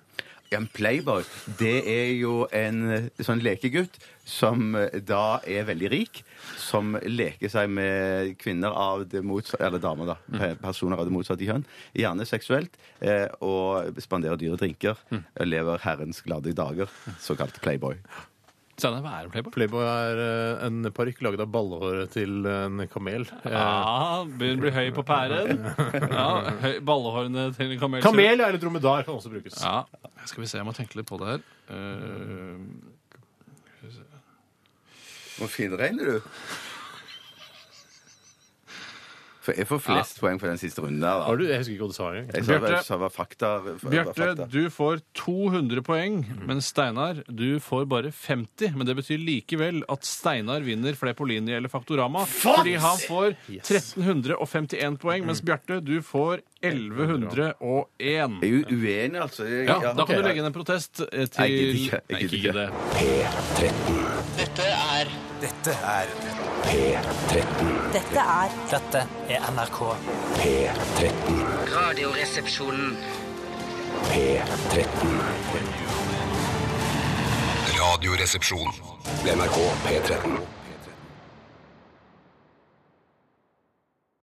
En playboy, det er jo en sånn lekegutt som eh, da er veldig rik, som leker seg med kvinner av det motsatte Eller damer, da. Mm. pe- Personer av det motsatte kjønn. Gjerne seksuelt. eh, Mm. Og spanderer dyre drinker. Lever herrens glade dager. Såkalt playboy. Steinar, hva er en playboy? Playboy er eh, en parykk laget av ballehåret til en kamel. Eh, Ja, begynner å bli høy på pæren. Ja, høy, Ballehårene til en kamel. Kamel eller dromedar kan også brukes. Ja. Skal vi se, jeg må tenke litt på det her. Eh, skal vi se. Nå finregner du. For jeg får flest poeng for den siste runden der. da. Har du, jeg husker ikke hva du sa engang. Jeg sa hva- Bjarte. sa hva fakta hva Bjarte, eh, fakta. du får 200 poeng, men Steinar, du får bare 50. Men det betyr likevel at Steinar vinner Fleipolini eller Faktorama. Fordi han får 1351 poeng, mens Bjarte, du får 1101. Jeg er jo uenig, altså. Jeg- Ja, ja, da kan ok. du legge inn en protest eh, til Nei, jeg gidder ikke. Jeg Nei, gidder det. P13. Dette er Dette er P13. Dette er Dette er NRK. P13. Radioresepsjonen. P13. Radioresepsjon. NRK P13.